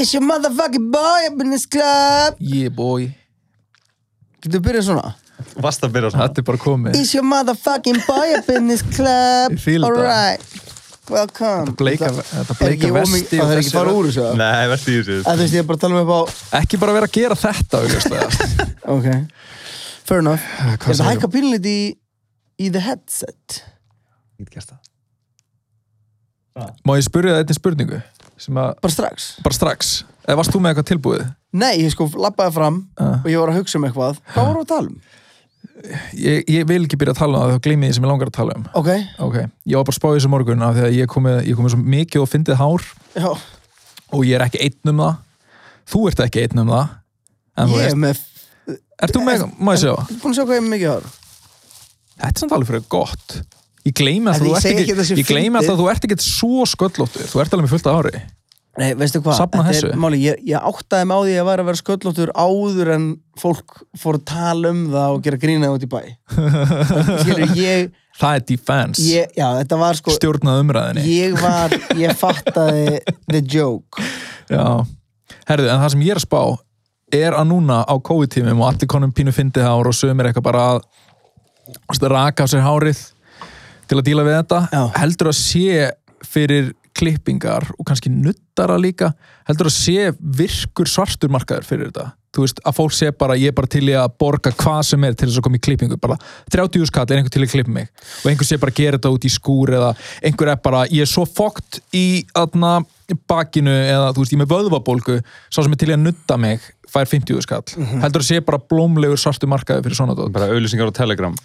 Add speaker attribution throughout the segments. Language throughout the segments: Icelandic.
Speaker 1: It's your motherfucking boy up in this club
Speaker 2: Yeah boy
Speaker 1: Getur byrjað svona?
Speaker 3: Vast að byrja svona
Speaker 2: Þetta er bara komið
Speaker 1: It's your motherfucking boy up in this club
Speaker 2: Ég fíla þetta.
Speaker 1: Alright Welcome
Speaker 2: bleika- þetta bleika vesti og
Speaker 1: Það er
Speaker 2: þessi
Speaker 1: ekki Oh, fara
Speaker 2: rödd.
Speaker 1: úr þessu eða?
Speaker 3: Nei, verðst í þessu
Speaker 1: Að Þú veist ég er bara að tala um upp á
Speaker 2: Ekki bara vera að gera þetta augljóslega.
Speaker 1: Ok Fair enough
Speaker 2: Ah, Hvað
Speaker 1: Er það
Speaker 2: segirðu?
Speaker 1: hækka pínleiti í, í the headset?
Speaker 3: Ég get gert það.
Speaker 2: Má ég spyrja það einnig spurningu sem að,
Speaker 1: Bara strax
Speaker 2: bara strax eða varst þú með eitthvað tilbúið?
Speaker 1: Nei, ég sko lappaði fram
Speaker 2: Ah.
Speaker 1: og ég var að hugsa um eitthvað Hvað voru að tala um?
Speaker 2: Ég, ég vil ekki byrja að tala um það þá gleymi ég því sem ég langar að tala um
Speaker 1: Ok,
Speaker 2: Ok, ég var bara að spá í þessu morgun af því að ég komið, ég komið svo mikið og fyndið hár
Speaker 1: já
Speaker 2: og ég er ekki einn um það þú ert ekki einn um það en þú
Speaker 1: Ég er
Speaker 2: veist,
Speaker 1: með
Speaker 2: ert þú með, má ég segja
Speaker 1: Þú búin að sjá hvað ég er með mikið hár
Speaker 2: þetta er samt alveg fyrir gott ég gleymi
Speaker 1: En ég
Speaker 2: alltaf að þú ert
Speaker 1: segi ekki að það sé
Speaker 2: ekki ég gleymi
Speaker 1: fyndið.
Speaker 2: alltaf að þú ert ekki svo sköllóttur þú ert alveg með fullt af hári
Speaker 1: Nei, veistu hvað?
Speaker 2: Safna
Speaker 1: Þetta
Speaker 2: þessu.
Speaker 1: Er, máli, ég, ég áttaði með á því að ég var að vera sköllóttur áður en fólk fór að tala um það og gera grínaði út í bæ. Skilur, ég,
Speaker 2: það er defense,
Speaker 1: ég, já, þetta var sko,
Speaker 2: stjórnað umræðinni
Speaker 1: ég var, ég fattaði the joke.
Speaker 2: já, herðu, en það sem ég er að spá er að núna á COVID-tímum og allir konum pínu fyndið hár og sömur eitthvað bara að þú veist, raka á sér hárið til að díla við þetta
Speaker 1: Já.
Speaker 2: heldur að sé fyrir klippingar og kannski nuttara líka heldur að sé virkur svartur markaður fyrir þetta þú veist að fólk sé bara ég er bara til í að borga hvað sem er til þess að koma í klippingu bara 30 skall er einhver til í að klippa mig og einhver sé bara að gera þetta út í skúr eða einhver er bara ég er svo fokt í aðna bakinu eða þú veist ég er með vöðvabólgu sá sem er til í að nutta mig fær 50 skall
Speaker 1: Mhm.
Speaker 2: heldur að sé bara blómlegur svartur markaður fyrir svona dót
Speaker 3: Bara auðlýsingar á Telegram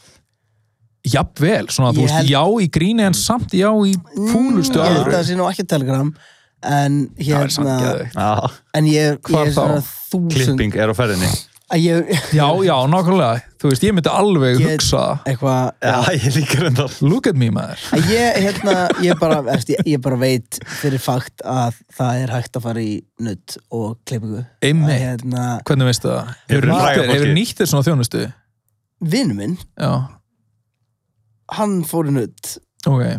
Speaker 2: jafnvel, svona
Speaker 1: Ég
Speaker 2: þú veist,
Speaker 1: held- Mm,
Speaker 2: já í gríni en samt já í fúlustu
Speaker 1: Ég held að
Speaker 2: öðru
Speaker 1: það sé nú ekki telegram, en
Speaker 2: það er samt
Speaker 1: hérna,
Speaker 2: geðveikt.
Speaker 3: ah.
Speaker 1: en ég, ég
Speaker 2: Hvað
Speaker 1: er svona
Speaker 2: þá?
Speaker 1: þúsund,
Speaker 3: Klipping er á ferðinni
Speaker 1: að ég,
Speaker 2: já, já, nákvæmlega, þú veist, ég myndi alveg
Speaker 1: Ég-
Speaker 2: hugsa það.
Speaker 1: eitthvað,
Speaker 3: Já, ég líka reyndar
Speaker 2: look at me maður
Speaker 1: Að ég, hérna, ég, bara, veist, ég, ég bara veit fyrir fakt að það er hægt að fara í nutt og klippingu
Speaker 2: Einmitt.
Speaker 1: Að, hérna,
Speaker 2: hvernig veistu það,
Speaker 3: Hefurðu
Speaker 2: hefur
Speaker 3: fræga fólki?
Speaker 2: nýtt þér svona þjónustu
Speaker 1: Vinnu minn,
Speaker 2: já,
Speaker 1: hann fór í nutt
Speaker 2: ok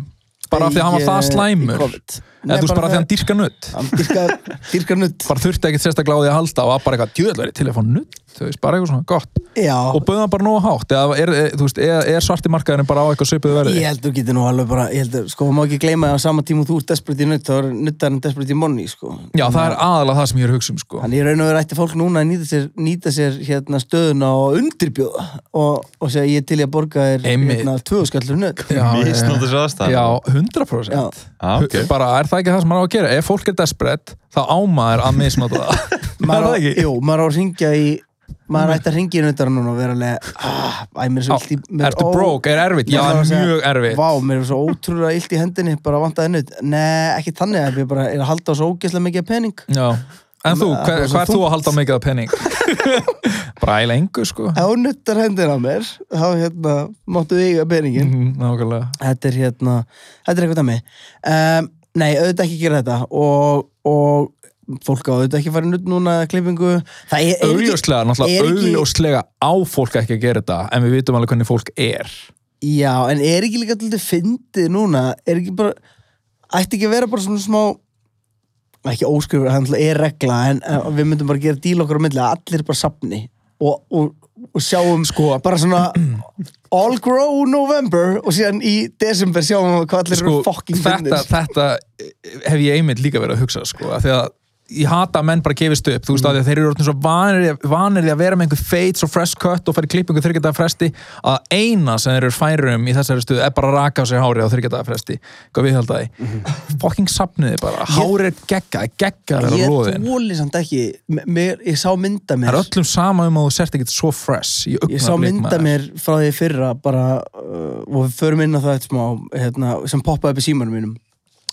Speaker 2: bara af því að hann var
Speaker 1: Ég-
Speaker 2: það
Speaker 1: í
Speaker 2: slæmur
Speaker 1: COVID. Nei,
Speaker 2: eða þú veist bara af því að hann dýrka nutt
Speaker 1: hann dýrkar, dýrkar nutt
Speaker 2: bara þurfti ekkert sérstaklega á því að halda og var bara eitthvað djöðlveri til að fá nutt þú veist, bara eitthvað svona gott
Speaker 1: Já,
Speaker 2: og bauðan bara nógu hátt eða er, er, þú veist, er, er svarti markaðurinn bara á eitthvað söpuðu verði
Speaker 1: ég held þú getur nú alveg bara ég held, að- sko, maður ekki gleyma að á sama tíma og þú ert desperate í nutt þá er nuttarinn desperate í money sko.
Speaker 2: já, það er aðalega það sem ég er að hugsa um sko.
Speaker 1: Þannig ég raun og verið ætti fólk núna að nýta sér, nýta sér hérna stöðuna og undirbjóða og, og segja ég er til ég að borga þér
Speaker 2: Einmitt.
Speaker 1: hérna, tvöskallur nutt
Speaker 2: Já, já, já.
Speaker 3: Misnóta sér aðstæðan
Speaker 2: Já, 100%
Speaker 1: Já.
Speaker 3: Ah, ok.
Speaker 2: bara er það ekki það sem maður á að gera ef fólk er desperett, þá ámaður að misnota það er
Speaker 1: maður á,
Speaker 2: það ekki?
Speaker 1: jú, maður á að ringja í maður ætti að ringja í nautara núna og vera alveg ah, æ, mér er
Speaker 2: Á,
Speaker 1: svo illt í mér,
Speaker 2: ertu
Speaker 1: ó,
Speaker 2: broke, er erfitt? Já,
Speaker 1: maður á að segja,
Speaker 2: mjög erfitt.
Speaker 1: vá, mér er svo ótrúlega illt í hendinni bara vantaði naut, nei, ekki þannig að ég bara er að halda á svo ógeðslega mikið af pening
Speaker 2: Já. en þú,
Speaker 1: Ma-
Speaker 2: hver,
Speaker 1: bara svo
Speaker 2: hvað er þú að halda á mikið af penning? bara æla engu sko
Speaker 1: ef hún nuttar hendina á mér þá hérna, máttu eiga peningin
Speaker 2: Mhm, nákvæmlega
Speaker 1: þetta er hérna, þetta er eitthvað dæmi um, nei, auðvitað ekki gera þetta og, og fólk á auðvitað ekki farið nutt núna klippingu það er, er ekki,
Speaker 2: augljóslega, náttúrulega
Speaker 1: er ekki-
Speaker 2: augljóslega á fólk ekki að gera þetta en við vitum alveg hvernig fólk er
Speaker 1: já, en er ekki líka alltaf fyndið núna, er ekki bara ætti ekki að vera bara svona smá ekki óskrifur, það er náttúrulega er regla en uh, við myndum bara gera díl okkar á milli að allir bara sapni og, og, og sjáum
Speaker 2: Sko-
Speaker 1: bara svona all grow November og síðan í desember sjáum við hvað allir
Speaker 2: sko,
Speaker 1: eru fucking
Speaker 2: þetta,
Speaker 1: fyndið
Speaker 2: þetta eh, hef ég einmitt líka verið að hugsa sko, af því að ég hata að menn bara gefist upp þú veist mm. að þeir eru orðin svo vanir, vanir því að vera með einhver fades og fresh cut og fara í klippingu þyrkjadaða fresti að eina sem þeir eru færum í þessari stuðu er bara að raka á sér hárið á þyrkjadaða fresti hvað við held að því fucking sapniði bara, hárið er gegga gegga þeirra
Speaker 1: ég
Speaker 2: róðin
Speaker 1: þóli samt ekki M- mér, ég sá mynda
Speaker 2: það
Speaker 1: mér
Speaker 2: er öllum sama um að þú sért ekkert svo fresh í
Speaker 1: ég sá
Speaker 2: augnablik,
Speaker 1: mynda
Speaker 2: maður.
Speaker 1: mér frá því í fyrra bara, uh, og við förum inn á það eitt smá, hérna, sem poppaði upp í símanum mínum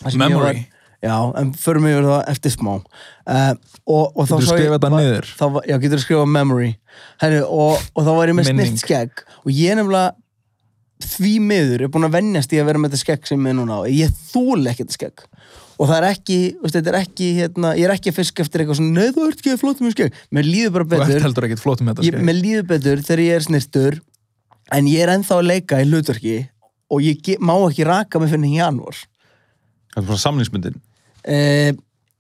Speaker 1: Það sem ég
Speaker 2: Memory?
Speaker 1: var, já, en förum yfir það eftir smá uh, og, og þá
Speaker 2: Geturðu
Speaker 1: sá ég-
Speaker 2: skrifað þetta
Speaker 1: var-
Speaker 2: niður?
Speaker 1: þá, var- Já, getur skrifað memory Herri, og, og þá var ég með
Speaker 2: Minning.
Speaker 1: snitt skegg og ég er nefnilega því miður er búin að venjast í að vera með þetta skegg sem ég er núna á ég þóli ekki þetta skegg og það er ekki, veist, þetta er ekki hérna, ég er ekki að fiska eftir eitthvað svona nei þú ert ekki flott með skegg mér líður bara
Speaker 2: Þú ert
Speaker 1: betur
Speaker 2: heldur ekkit flott með þetta
Speaker 1: ég,
Speaker 2: skegg.
Speaker 1: mér líður betur þegar ég er snirtur en ég er ennþá að leika í hlutverki og ég ge- má ekki raka mig fyrir janúar
Speaker 3: Það er bara samlingsmyndin.
Speaker 1: uh,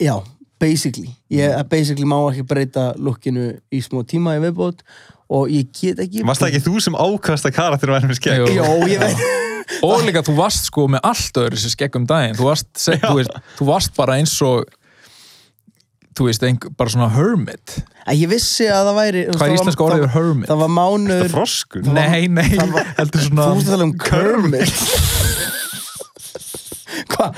Speaker 1: já, basically ég
Speaker 2: Mm.
Speaker 1: basically má ekki breyta lukkinu í smó tíma í viðbót og ég get ekki
Speaker 3: Varst það ekki þú sem ákasta karakter að vera með skegg?
Speaker 2: Jú.
Speaker 1: Jó, ég veit
Speaker 2: Og líka þú varst sko með allt öðru sér skegg um daginn þú varst, se, þú, veist, þú varst bara eins og þú veist, ein, bara svona hermit
Speaker 1: Að Ég vissi að það væri
Speaker 2: Hvað er íslenska orðið yfir hermit?
Speaker 1: Það var
Speaker 3: Það er
Speaker 1: mánuður
Speaker 3: froskun.
Speaker 2: Nei, nei, heldur
Speaker 1: Þú
Speaker 2: svona
Speaker 1: veist að tala um Kermit Hvað?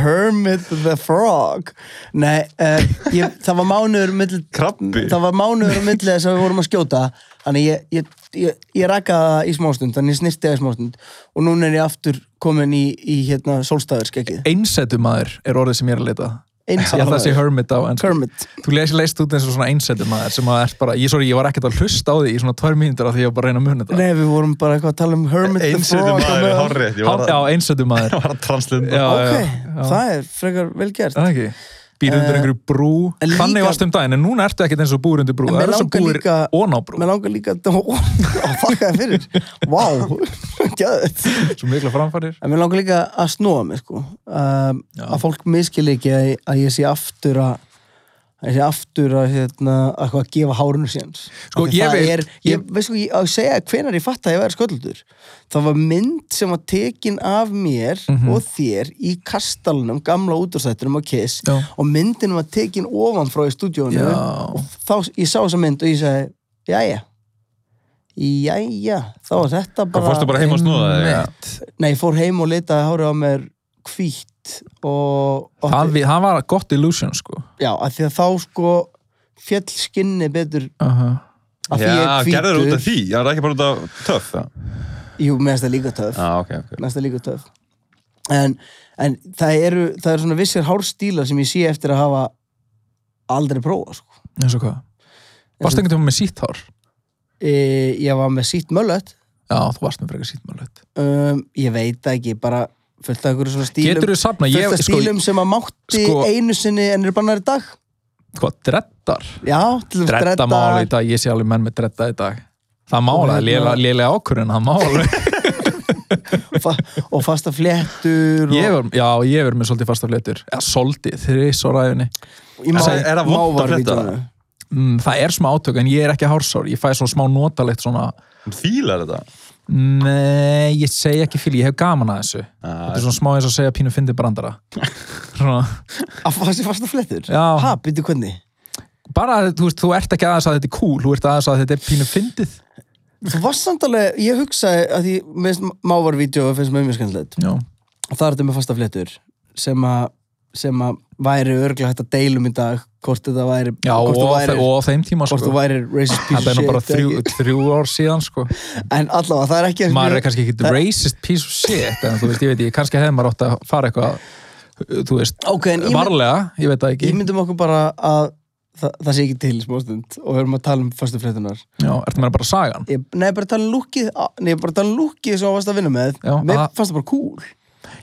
Speaker 1: Hermit the Frog Nei, uh, ég, það var mánuður milli,
Speaker 3: Krabbi.
Speaker 1: Það var mánuður á milli þess að við vorum að skjóta Þannig ég, ég, ég, ég rakaði það í smástund Þannig ég snirti það í smástund Og núna er ég aftur komin í, í hérna, sólstafurskegið
Speaker 2: Einsetumæður er orðið sem ég er að leita
Speaker 1: Einsetumaður.
Speaker 2: Ég held að það sé hermit á ennsku.
Speaker 1: Kermit
Speaker 2: Þú leist, leist út eins og svona einsetumæður sem að er bara, ég, sorry, ég var ekkert að hlusta á því í svona tvær mínútur af því ég var bara að reyna að muna þetta
Speaker 1: Nei, við vorum bara eitthvað að tala um Hermit the
Speaker 3: Einsöðu
Speaker 1: Frog á
Speaker 3: maður er
Speaker 1: meðan.
Speaker 3: horrið. Ég
Speaker 2: Há-
Speaker 3: var
Speaker 2: Já,
Speaker 3: að,
Speaker 2: einsetumæður
Speaker 3: var að translunda.
Speaker 2: Já,
Speaker 1: Ok,
Speaker 2: já.
Speaker 1: það er frekar vel gert
Speaker 2: Það er ekki Býr undir
Speaker 1: Eh,
Speaker 2: einhverju brú
Speaker 1: en líka-
Speaker 2: Þannig varst um daginn, en núna ertu ekkert eins og búir undir brú
Speaker 1: En
Speaker 2: Það
Speaker 1: mér
Speaker 2: er eins og
Speaker 1: langar
Speaker 2: búir
Speaker 1: líka-
Speaker 2: ón á brú
Speaker 1: Mér langar líka að ó, þakka þér fyrir Vá, gæðið
Speaker 2: Svo mikla framfærir
Speaker 1: En mér langar líka að snúa mig sko um,
Speaker 2: Já.
Speaker 1: að fólk miskili ekki að, að ég sé aftur að að ég sé aftur að hérna, að, hvað, gefa hárinu síðans
Speaker 2: Sko, ég veit-
Speaker 1: er, ég,
Speaker 2: ég-
Speaker 1: ég, veist, sko, ég, að segja hvenær ég fatt að ég væri skölduldur það var mynd sem var tekin af mér
Speaker 2: Mhm.
Speaker 1: og þér í kastalunum gamla útastættunum á Kiss
Speaker 2: Já.
Speaker 1: og myndin var tekin ofan frá í stúdíónu
Speaker 2: Já.
Speaker 1: og þá, ég sá þessa mynd og ég sagði jæja jæja, þá var þetta
Speaker 3: Hvað fórstu bara heim og snúða þig?
Speaker 1: Nei, ég fór heim og leitaði hárið á mér hvítt og, og
Speaker 2: það, við- það var gott illusion sko
Speaker 1: já, að því að þá sko fjall skinni betur
Speaker 2: uh -huh.
Speaker 1: að því
Speaker 3: Já,
Speaker 1: ég er hvítur.
Speaker 3: gerður út af því. Já, það er ekki bara út af töff. Já,
Speaker 1: Jú, meðast það líka töf.
Speaker 3: Já, ok, ok.
Speaker 1: Meðast það líka töf. En, en það eru, það eru svona vissir hárstílar sem ég sé eftir að hafa aldrei prófa, sko.
Speaker 2: eins og hvað Varst einhvern tíma með sítt hár?
Speaker 1: E, ég var með sítt möllött.
Speaker 2: Já, þú varst með frekar sítt málögt
Speaker 1: Um, ég veit það ekki, bara fullt af einhverju svona stílum.
Speaker 2: Getur þú safna? Ég,
Speaker 1: Fullt af
Speaker 2: sko,
Speaker 1: stílum sem að mátti
Speaker 2: sko-
Speaker 1: einu sinni en eru bannar í dag.
Speaker 2: hvað, dreddar?
Speaker 1: Já, til dæmis
Speaker 2: Dredda
Speaker 1: dreddar.
Speaker 2: máli í dag, ég sé alveg menn með dredda í dag Það
Speaker 1: Og
Speaker 2: mála,
Speaker 1: hérna-
Speaker 2: lélega, lélega ákvörðin, það mála
Speaker 1: fa og fasta fléttur og
Speaker 2: Ég var, já, ég verið með svolítið fasta fléttur Eða svolítið, þrís á ræðinni
Speaker 1: í má,
Speaker 3: Það er það vont að
Speaker 1: mávar
Speaker 3: flétta
Speaker 1: vídeóinu.
Speaker 2: mm, Það er smá átök, en ég er ekki hársár Ég fæ svona smá notalegt svona
Speaker 3: Fílar þetta?
Speaker 2: Nei, ég segi ekki fyrir, ég hef gaman að þessu Þetta er svona smá eins og að segja pínu fyndi brandara Svona
Speaker 1: að fasta fasta fléttur
Speaker 2: Já.
Speaker 1: ha, býttu hvernig
Speaker 2: bara, þú veist, þú ert ekki aðeins að þetta er cool þú ert aðeins að þetta er pínu fyndið
Speaker 1: þú varst samt alveg, ég hugsaði að því minnst mávar vídeo finnst mér mjög skemmtilegt
Speaker 2: já,
Speaker 1: og það er þetta með fasta fléttur sem að sem að væri örglega hægt að deilum í dag hvort þetta væri
Speaker 2: og,
Speaker 1: hvort þú
Speaker 2: væri,
Speaker 1: væri,
Speaker 2: og á þeim tíma
Speaker 1: hvort
Speaker 2: sko.
Speaker 1: þú væri racist piece
Speaker 2: þetta
Speaker 1: of
Speaker 2: er nú bara
Speaker 1: shit
Speaker 2: þrjú, þrjú ár síðan sko.
Speaker 1: ekki- en allavega það er ekki eins
Speaker 2: maður
Speaker 1: mjög-
Speaker 2: er kannski ekki
Speaker 1: það-
Speaker 2: racist piece of shit en þú veist, ég veit ekki, kannski hefði maður átt að fara eitthvað þú veist,
Speaker 1: ok, en ímynd-
Speaker 2: varlega ég veit það ekki,
Speaker 1: ímyndum okkur bara að það, það sé ekki til í smástund og við erum að tala um fasta fléttunar
Speaker 2: já, ertu meira bara sagan
Speaker 1: ég, nei, ég er bara að tala um lúkið nei, ég er bara að tala um lúkið sem þú varst að vinna með
Speaker 2: Já,
Speaker 1: mér
Speaker 2: að-
Speaker 1: fannst það bara cool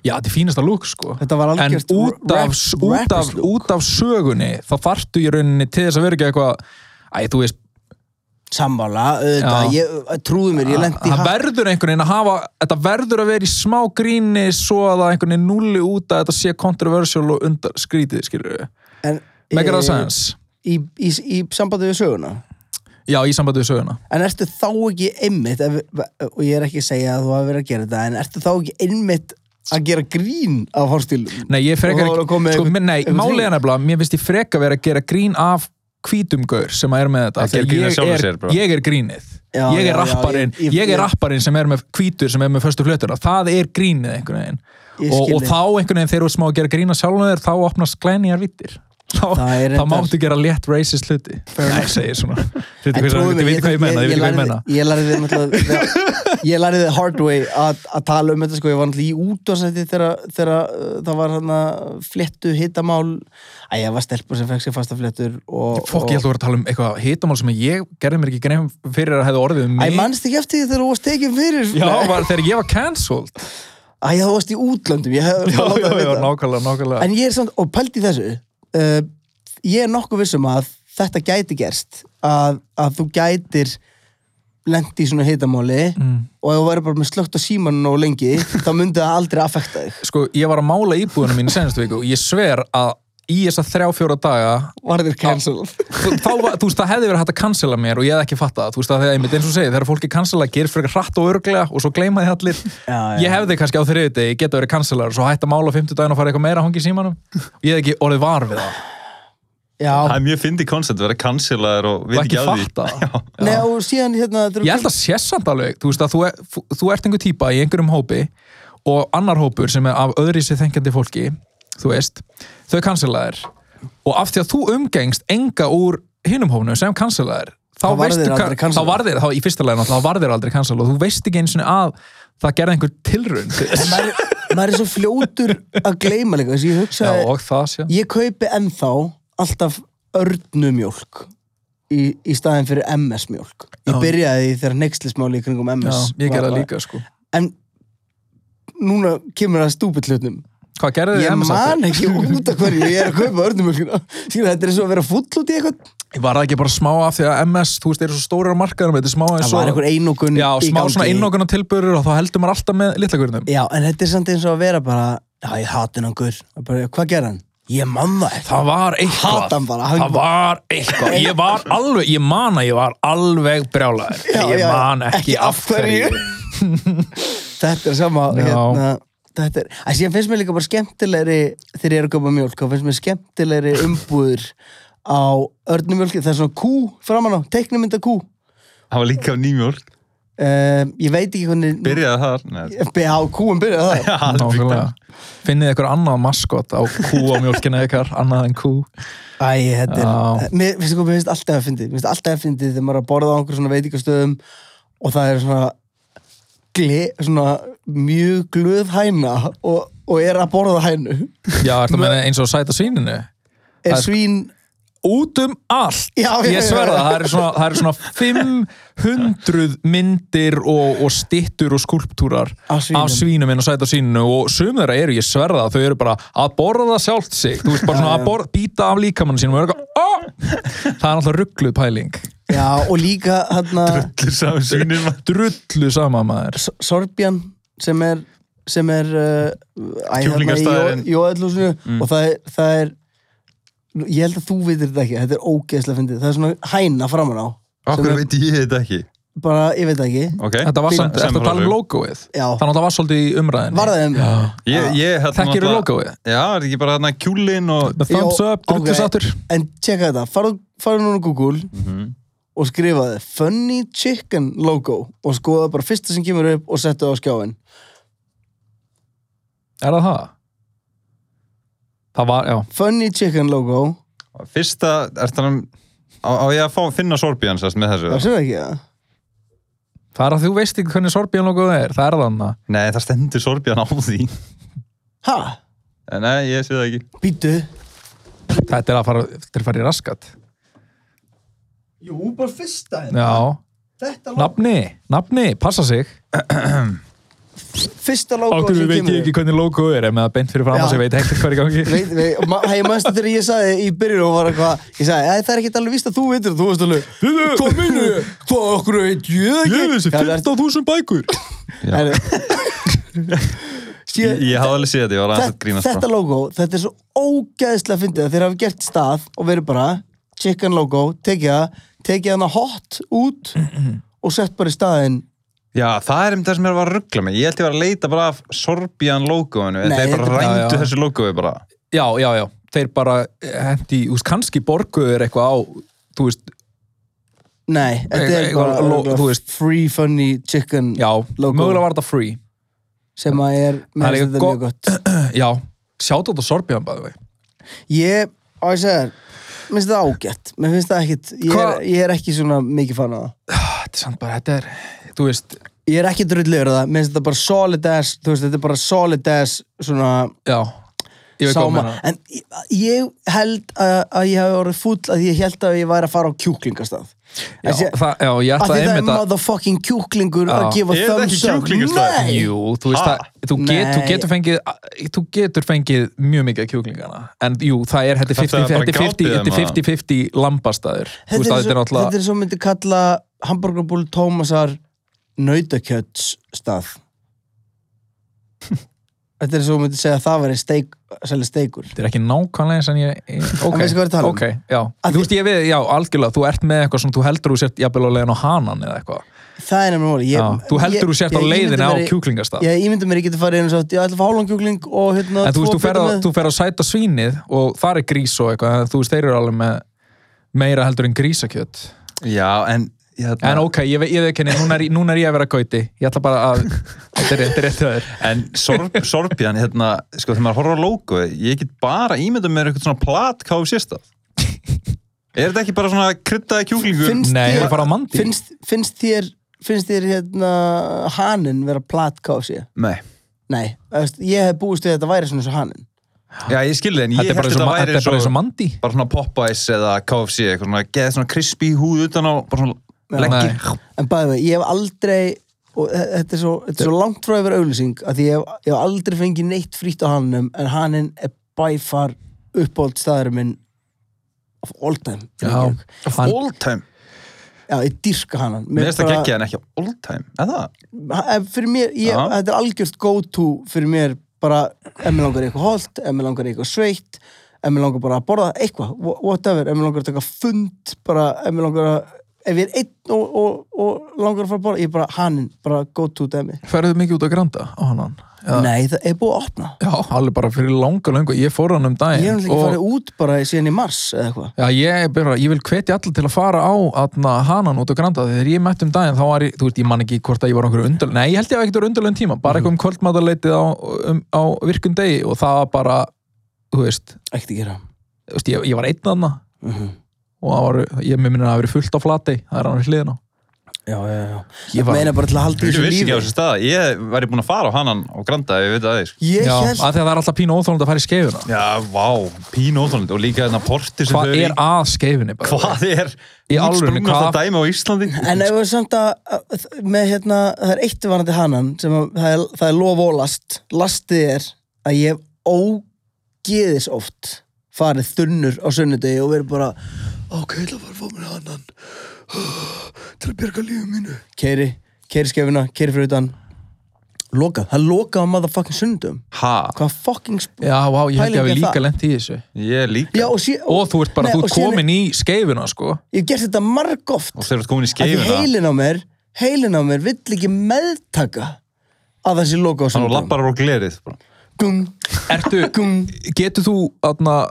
Speaker 2: já, þetta er fínasta lúk sko
Speaker 1: Þetta var
Speaker 2: en
Speaker 1: algjört
Speaker 2: út af,
Speaker 1: rap-
Speaker 2: út, af,
Speaker 1: rappers look.
Speaker 2: út af sögunni þá þartu í rauninni til þess að vera ekki eitthvað æ, þú veist,
Speaker 1: Sammála, auðvitað,
Speaker 2: Já.
Speaker 1: ég, trúðu mér, ég lendi í
Speaker 2: það
Speaker 1: hatt
Speaker 2: verður einhvern veginn að hafa þetta verður að vera í smá gríni svo að það einhvern veginn nulli út að þetta sé kontroversial og undar skrítið skilur við
Speaker 1: En, eh,
Speaker 2: megar það sæðans
Speaker 1: Í, í, í sambandi við söguna
Speaker 2: já í sambandi við söguna
Speaker 1: En ertu þá ekki einmitt ef, og ég er ekki að segja að þú hafi verið að gera þetta en ertu þá ekki einmitt að gera grín af hórstílum?
Speaker 2: nei ég frekar
Speaker 1: Og þá var að koma með
Speaker 2: sko,
Speaker 1: einhvern-
Speaker 2: mér- nei
Speaker 1: einhvern
Speaker 2: málega nefnilega mér finnst ég freka verið að gera grín af hvítumgaur sem að er með þetta
Speaker 3: Að gera
Speaker 2: Þegar
Speaker 3: grín af
Speaker 2: ég,
Speaker 3: sjálfum
Speaker 2: er,
Speaker 3: sér, bara.
Speaker 2: ég er grínið
Speaker 1: Já,
Speaker 2: ég
Speaker 1: já,
Speaker 2: er
Speaker 1: já,
Speaker 2: rapparinn
Speaker 1: ég-
Speaker 2: ég,
Speaker 1: ég-
Speaker 2: er
Speaker 1: ég-
Speaker 2: rapparinn sem er með hvítur sem er með föstu flötuna það er grínið einhvern veginn
Speaker 1: Ég
Speaker 2: og,
Speaker 1: skil
Speaker 2: og
Speaker 1: þig.
Speaker 2: þá einhvern veginn þegar þú ert smá að gera grína sjálfum þér þá opnast glænýjar vittir þá,
Speaker 1: Það er
Speaker 2: þá
Speaker 1: reyndar-
Speaker 2: máttu gera létt racist hluti Nei, segir svona
Speaker 1: En
Speaker 2: Þetta er hvað
Speaker 1: trúðu
Speaker 2: ég veit hvað ég menna, ég veit hvað ég menna
Speaker 1: Ég lærði þið náttúrulega Ég lærði þið hard way að að tala um þetta sko, ég var náttúrulega í útvarsætti þegar þegar, uh, það var hann að fléttu hittamál Æ, ég var stelpur sem fekk sér fasta fléttur og,
Speaker 2: Fokk, ég
Speaker 1: og,
Speaker 2: held að voru að tala um eitthvað hitamál sem ég gerði mér ekki grein fyrir að hefði orðið um
Speaker 1: Æ,
Speaker 2: mig
Speaker 1: mannst ekki eftir því þegar þú varst tekin fyrir
Speaker 2: Já, var, þegar ég var cancelled
Speaker 1: Æ, þú varst í útlöndum Ég hef
Speaker 2: Já, já, já,
Speaker 1: það
Speaker 2: nákvæmlega, nákvæmlega
Speaker 1: En ég er samt, og pældi í þessu uh, Ég er nokkuð vissum að þetta gæti gerst að, að þú gætir lendi í svona hitamáli
Speaker 2: Mm.
Speaker 1: og ef þú væri bara með slögt á símanu nóg lengi þá myndi það aldrei affekta þig
Speaker 2: Sko, ég var að mála íbúðunum mín í senstu viku og ég sver að í þessa þrjá, fjóra daga
Speaker 1: Var þér cancelled?
Speaker 2: þú, þá, var- þú veist, það hefði verið hægt að cancela mér og ég hefði ekki fattað það, þú veist, að þegar einmitt eins og segið, þegar fólki cancela, gerir fyrir hratt og örglega og svo gleyma þið allir
Speaker 1: Já, já.
Speaker 2: ég hefði kannski á þriði degi, geta verið cancelar svo hætt að mála á fimmtudaginn og fara eitthvað meira að hangi í símanum ég hefði ekki orðið var við það
Speaker 3: Það
Speaker 1: Já,
Speaker 3: er mjög fyndið koncept að vera cancelaður og við
Speaker 2: og
Speaker 3: ekki
Speaker 2: ekki
Speaker 3: að því.
Speaker 2: fatta það.
Speaker 1: Nei, og síðan hérna þetta eru-
Speaker 2: ég held að sé samt alveg, þú veist að þú, er, þú- þú ert einhver típa í einhverjum hópi og annar hópur sem er af öðri sér þengjandi fólki, þú veist þau cancelaðir og af því að þú umgengst enga úr hinum hópnum sem cancelaðir
Speaker 1: Þá
Speaker 2: þá,
Speaker 1: varð
Speaker 2: veistu
Speaker 1: þér
Speaker 2: hva-
Speaker 1: aldrei cancelaðir.
Speaker 2: þá varðir, þá í fyrsta leginn þá varðir aldrei cancel og þú veist ekki eins og að það gerði einhver tilrun til þess.
Speaker 1: maður, maður er svo fljótur að gleyma líka þess að ég
Speaker 2: Já,
Speaker 1: hugsaði,
Speaker 2: og það sé
Speaker 1: ég kaupi ennþá alltaf örnumjólk í, í staðin fyrir MS-mjólk ég
Speaker 2: Já.
Speaker 1: byrjaði því þegar neykslismáli í kringum
Speaker 2: Já,
Speaker 1: MS
Speaker 2: ég
Speaker 1: var-
Speaker 2: gerði það líka sko
Speaker 1: en núna kemur það stúpill hlutum
Speaker 2: Hvað gerði þið
Speaker 1: ég
Speaker 2: MS
Speaker 1: man
Speaker 2: aftur?
Speaker 1: ekki út af hverju ég er að kaupa örnumjólkina Skilur, þetta er svo að vera full út í eitthvað
Speaker 2: Var það ekki bara smá af því að MS, þú veist, eru svo stórir á markaðurum, þetta er smá eins
Speaker 1: það
Speaker 2: og...
Speaker 1: var einhver einokun
Speaker 2: Já,
Speaker 1: í
Speaker 2: smá
Speaker 1: gangi.
Speaker 2: svona innokana tilbörur og þá heldur maður alltaf með litlakurinnum.
Speaker 1: já, en þetta er samt eins og að vera bara já, ég hati hann gaur Og bara, hvað gerði hann? ég man það ekki
Speaker 2: Það var eitthvað.
Speaker 1: Hata hann bara, hann-
Speaker 2: Það var eitthvað. Ég var alveg, ég man að ég var alveg brjálæður.
Speaker 1: Já,
Speaker 2: Ég
Speaker 1: já,
Speaker 2: man ekki,
Speaker 1: ekki
Speaker 2: af hverju.
Speaker 1: þetta er sama
Speaker 2: Já.
Speaker 1: hérna, þetta er, að síðan finnst mér líka bara skemmtilegri þegar ég er að köpa mjólk, þá finnst mér skemmtilegri umbúður á örnumjólki, það er svona kú framan á teiknumynda kú
Speaker 3: Það var líka á nýmjólk.
Speaker 1: um, ég veit ekki hvernig
Speaker 3: Byrjaði þar. Nei,
Speaker 1: BH kúum byrjaði það
Speaker 2: Nákvæmlega. Finnið ykkur annað maskot á kú á mjólkina ykkar, annað en kú.
Speaker 1: Æ, þetta
Speaker 2: Já.
Speaker 1: er, mér finnst, sko, mér finnst alltaf að fyndi mér finnst alltaf að fyndi þegar maður er að borða á einhver svona veitingastöðum og það er svona gle, svona mjög glöð hæna og, og er að borða hænu
Speaker 2: Já, ertu að meina eins og sæta svíninu? Það
Speaker 1: er
Speaker 2: er-
Speaker 1: svín
Speaker 2: út um allt
Speaker 1: Já, já,
Speaker 2: ég
Speaker 1: já,
Speaker 2: sverða,
Speaker 1: já.
Speaker 2: það eru svona, það eru svona 500 myndir og, og stittur og skúlptúrar
Speaker 1: Af svínum.
Speaker 2: af svínum inn og sæta svíninu og sumur þeirra eru, ég sverða, þau eru bara að borða sjálft sig, þú veist bara svona
Speaker 1: Já, já.
Speaker 2: að borða, býta af líkamann sínum og eru eitthvað "Ah!" það er alltaf ruggluð pæling
Speaker 1: já, og líka hérna
Speaker 3: Allir saman svínir maður.
Speaker 2: drullu sama maður
Speaker 1: S- Sorbian sem er sem er uh,
Speaker 3: Kjúklingastaðurinn.
Speaker 1: jóðlúsinu mm. og það er, það er ég held að þú veitir þetta ekki, þetta er ógeðslega fyndið það er svona hæna framan á sem
Speaker 3: Okkur
Speaker 1: er
Speaker 3: veit ég þetta ekki.
Speaker 1: bara, ég veit það ekki
Speaker 3: Ok.
Speaker 2: þetta var samt,
Speaker 3: Sem
Speaker 2: eftir að tala um
Speaker 3: frá-
Speaker 2: logoið
Speaker 1: Já.
Speaker 2: þannig að það var svolítið í umræðinni
Speaker 1: var það um
Speaker 3: Ég, ég, hérna
Speaker 2: þekkir
Speaker 3: náttúrulega-
Speaker 2: logoið
Speaker 3: Já, er ekki bara hérna kjúlin og...
Speaker 2: með thumbs
Speaker 1: Jó,
Speaker 2: up, drullu
Speaker 1: ok.
Speaker 2: sattur
Speaker 1: En tjekka þetta, farðu, farðu núna á Google
Speaker 2: Mhm.
Speaker 1: og skrifaði Funny Chicken logo og skoða bara fyrsta sem kemur upp og settu það á skjáin
Speaker 2: er það það? það var, já
Speaker 1: Funny Chicken logo,
Speaker 3: Fyrsta, er það um... Á, á ég að fá, finna sorbjörn sérst með
Speaker 1: það
Speaker 3: þessu?
Speaker 1: séu ekki það
Speaker 2: Það er að þú veist ekki hvernig Sorbian logoð er, það er þannig.
Speaker 3: Nei, það stendur sorbjörn á því.
Speaker 1: Ha,
Speaker 3: En Nei, ég sé það ekki.
Speaker 1: býtu
Speaker 2: Þetta er að fara, þetta er að fara í raskat.
Speaker 1: Jú, bara fyrsta hérna.
Speaker 2: Já,
Speaker 1: Þetta
Speaker 2: nafni, nafni, passa sig.
Speaker 1: Fyrsta logo
Speaker 2: Okkur
Speaker 1: sem
Speaker 2: veit
Speaker 1: kemur
Speaker 2: ég ekki hvernig logoð er, ef með það beint fyrir fram
Speaker 1: Já.
Speaker 2: að sig veit ekkert hvað er í gangi.
Speaker 1: Veit, veit, ma- ég manstu þegar ég sagði í byrjun og var eitthvað, ég sagði, "Æ, það er ekkert alveg víst að þú veitir, þú veist alveg, hvað minu, hvað okkur veit ég það ekki? Já, það er-
Speaker 2: 15.000 bækur.
Speaker 1: Herru.
Speaker 3: Ég,
Speaker 1: Síðan-
Speaker 3: ég hafði alveg séð þetta, ég var aðeins að
Speaker 1: þetta,
Speaker 3: grínast sko.
Speaker 1: þetta logo, þetta er svo ógæðislega fyndið að þeir hafa gert stað og verið bara chicken logo, tekið það tekið hana hot út og sett bara í staðinn
Speaker 3: Já, það er um það sem ég var að ruggla mig. Ég held ég var að leita bara af Sorbian logoinu, en
Speaker 1: Nei,
Speaker 3: þeir bara
Speaker 1: þetta-
Speaker 2: Já,
Speaker 3: rændu
Speaker 2: já.
Speaker 3: þessu logoi bara.
Speaker 2: Já, já, já, þeir bara eh, hendi, þú veist, kannski borguðu er eitthvað á, þú veist,
Speaker 1: Nei, þetta er
Speaker 2: Eitthvað-
Speaker 1: bara
Speaker 2: lo-
Speaker 1: örugglega
Speaker 2: þú veist.
Speaker 1: free funny chicken
Speaker 2: já,
Speaker 1: Logo.
Speaker 2: mögulega var þetta free.
Speaker 1: sem að er,
Speaker 2: Það er
Speaker 1: mér finnst
Speaker 2: líka
Speaker 1: þetta mjög gott
Speaker 2: Já, sjátt á þetta Sorbian, bæðu vei.
Speaker 1: Ég og ég segir, mér finnst það ágætt mér finnst það ekkit, ég er,
Speaker 2: Hvað-
Speaker 1: ég er ekki svona mikið fan af það
Speaker 2: Ah, Þetta er samt bara, þetta er, þú veist,
Speaker 1: ég er ekki drullegur það, mér finnst þetta bara solid ass þú veist, þetta er bara solid ass svona
Speaker 2: já, ég veit hvað
Speaker 1: sáma-
Speaker 2: maður.
Speaker 1: en ég- ég held að, að ég hafi orðið fúll að ég held að ég væri að fara á kjúklingastað
Speaker 2: Já,
Speaker 1: Þessi-
Speaker 2: það, já, ég
Speaker 1: Af
Speaker 2: ætla
Speaker 1: því það er
Speaker 2: einmitt að,
Speaker 1: motherfucking kjúklingur að
Speaker 2: Já.
Speaker 1: gefa
Speaker 3: Er það ekki
Speaker 1: thumbs up
Speaker 3: kjúklingastað?
Speaker 1: Nei!
Speaker 2: jú, þú veist
Speaker 3: Ha?
Speaker 2: það, þú, get, þú
Speaker 1: Nei.
Speaker 2: getur fengið, þú getur fengið mjög mikið af kjúklingana, en jú, það er, þetta er
Speaker 3: Þetta er
Speaker 2: 50
Speaker 3: bara
Speaker 2: þetta er 50
Speaker 3: gátið
Speaker 2: þetta er
Speaker 3: þeim að-
Speaker 2: 50-50 lambastæður, þú veist
Speaker 1: hérna. Þetta er,
Speaker 2: að þetta er
Speaker 1: svo, þetta
Speaker 2: náttúrulega,
Speaker 1: er svo myndi kalla hambúrgarbúl Tómasar nautakjötsstað Þetta er svo myndi segja að það væri steik, selja steikur
Speaker 2: þetta er ekki nákvæmlega eins en ég, ég- ok,
Speaker 1: veistu hvað ég er að tala um?
Speaker 2: ok, já,
Speaker 1: Af
Speaker 2: þú veist ég við, já, algjörlega, þú ert með eitthvað sem þú heldur þú sért jafnvel á leiðin á hanan eða eitthvað,
Speaker 1: Það er nefnir móli
Speaker 2: já, þú heldur þú sért á leiðin á kjúklingastað.
Speaker 1: Ég ímyndi mér ég geti farið inn og sagt ég ætla að fá hálfum kjúkling og hérna
Speaker 2: en þú veist,
Speaker 1: tvo
Speaker 2: þú fer,
Speaker 1: bita
Speaker 2: að,
Speaker 1: með-
Speaker 2: þú fer að sæta svínið og það er grís og eitthvað en þú veist, þeir eru alveg með meira heldur en grísakjöt
Speaker 3: Já, en hérna,
Speaker 2: en ok, ég, ve- ég veikinn, núna, er- núna er ég að vera gauti ég ætla bara að þetta er rétt, þetta er rétt hjá þér
Speaker 3: en sorp, sorpjan, hérna, sko, þegar maður horfir á logo, ég get bara ímyndað mér eitthvað svona plat KFC stað. Er þetta ekki bara svona kryddaði kjúklingur?
Speaker 1: Finnst
Speaker 2: Nei,
Speaker 1: þér-
Speaker 2: ég fara á mandi.
Speaker 1: Finnst, finnst þér, finnst þér hérna hanin vera platkási?
Speaker 3: Nei.
Speaker 1: Nei, þú veist, ég hef búist við að þetta væri svona svo hanin
Speaker 3: Já, ég skilði, en ég
Speaker 2: þetta er
Speaker 3: held
Speaker 2: bara eins og-
Speaker 3: þetta
Speaker 2: þetta
Speaker 3: væri
Speaker 2: er bara eins og mandi
Speaker 3: bara svona Popeyes eða KFC eitthvað svona, geða svona crispy húð utan á bara svona leggir
Speaker 2: Nei.
Speaker 1: En bæði vei, ég hef aldrei og þe- þetta er svo, þetta er svo langt frá yfir auðlýsing að því ég hef, ég hef aldrei fengið neitt frýtt á hannum en hanninn er bæfar uppáld staðurum minn of all time
Speaker 2: Já, hann,
Speaker 3: all time,
Speaker 1: já ég dýrka hannan
Speaker 3: mér finnst það geggja en ekki all time, eða?
Speaker 1: Eh, Fyrir mér, ég,
Speaker 3: Já.
Speaker 1: þetta er algjört go to fyrir mér bara ef mér langar í eitthvað holt, ef mér langar í eitthvað sveitt ef mér langar bara að borða eitthvað wha- whatever, ef mér langar að taka fund bara ef mér langar að ef ég er einn og, og, og langar að fara að borða ég er bara hanninn, bara go to demi
Speaker 2: ferðu mikið út að granda á hanan Já.
Speaker 1: Nei, það er búið að opna.
Speaker 2: já, alveg bara fyrir langa löngu ég fór hann um
Speaker 1: Ég hef náttúrulega
Speaker 2: daginn
Speaker 1: ekki farið út bara síðan í mars eða eitthvað.
Speaker 2: Já, ég, er bara, ég vil hvetja alla til að fara á atna, hanan út á granda þegar ég mætti um daginn þá var ég, þú veist, ég man ekki hvort að ég var okkur undal nei, ég held ég að ekkert voru undalun tíma bara eitthvað um kvöldmataleitið á, um, á virkum degi og það var bara, þú veist,
Speaker 1: Ekkert að gera.
Speaker 2: þú veist ég, ég var einn aðna
Speaker 1: Mm -hmm.
Speaker 2: og það var, ég með minna að það hafi verið fullt á flati það er hann við hliðina á.
Speaker 1: Já, já, já.
Speaker 2: Ég
Speaker 1: Ég
Speaker 2: var-
Speaker 1: meina bara til að halda í
Speaker 3: Ég
Speaker 1: þessu
Speaker 3: vissi ekki á
Speaker 1: lífi.
Speaker 3: þessu staða, ég væri búin að fara á hannan og granda, ef ég veit að þið, sko.
Speaker 1: Ég
Speaker 2: Já,
Speaker 1: held,
Speaker 2: af því að það er alltaf pínu óþólandi að fara í skeifuna
Speaker 3: Já, vá, pínu óþólandi og líka þarna porti sem
Speaker 2: hvað
Speaker 3: þau
Speaker 2: er að skeifunni bara
Speaker 3: Hvað er
Speaker 2: Í alvörunni,
Speaker 3: útsprungnasta
Speaker 2: hvað-
Speaker 3: dæmi á Íslandi?
Speaker 1: en ef við samt að, að með hérna, það er eitt varandi hannan sem að, það, er, það er lof og last. Lastið er að ég hef ógeðis oft farið þunnur á sunnudegi og verið bara ok, ég ætla að fara að fá mér hannan til að byrga lífið mínu. Keiri, keiri skefina, keiri fyrir utan. Lokað, það er lokað á motherfucking sunnudum.
Speaker 3: Ha,
Speaker 1: hvað fucking sp-
Speaker 2: já, vá, ég held ég
Speaker 1: Pæling
Speaker 2: að
Speaker 1: er
Speaker 2: við líka
Speaker 1: það.
Speaker 2: lent í þessu
Speaker 3: ég líka
Speaker 1: já, og, sé,
Speaker 2: og þú ert bara,
Speaker 1: Nei,
Speaker 2: þú
Speaker 1: og
Speaker 2: ert
Speaker 1: síðan-
Speaker 2: komin í skeifuna sko.
Speaker 1: ég hef gert þetta margóft
Speaker 3: Og þeir eru komin í
Speaker 1: að því
Speaker 3: skeifina
Speaker 1: heilin á mér heilin á mér vill ekki meðtaka að það sé loka á
Speaker 3: Þannig
Speaker 1: sunnudögum.
Speaker 3: að lappar á glerið sko. bara.
Speaker 1: Gung,
Speaker 2: Ertu,
Speaker 1: gung.
Speaker 2: getur þú atna,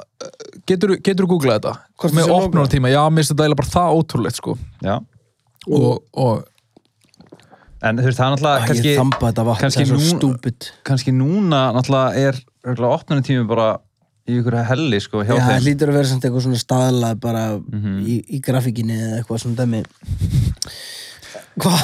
Speaker 2: getur, getur þú googlað þetta
Speaker 1: Hvort
Speaker 2: með
Speaker 1: það sé
Speaker 2: opnunartíma, já, mér finnst þetta eiginlega bara það ótrúlegt sko.
Speaker 3: Já
Speaker 2: og, og
Speaker 3: En þú veist, það er
Speaker 1: Æ,
Speaker 3: náttúrulega kannski,
Speaker 1: ég þamba þetta vatn, það
Speaker 3: kannski
Speaker 1: er svo
Speaker 3: nú-
Speaker 1: stúpid
Speaker 3: kannski núna náttúrulega er örgulega opnunum tími bara í ykkur helli sko hjá
Speaker 1: Já, það
Speaker 3: þeim
Speaker 1: lítur að vera samt eitthvað svona staðlað bara í, í grafíkinni eða eitthvað svona dæmi Hvað?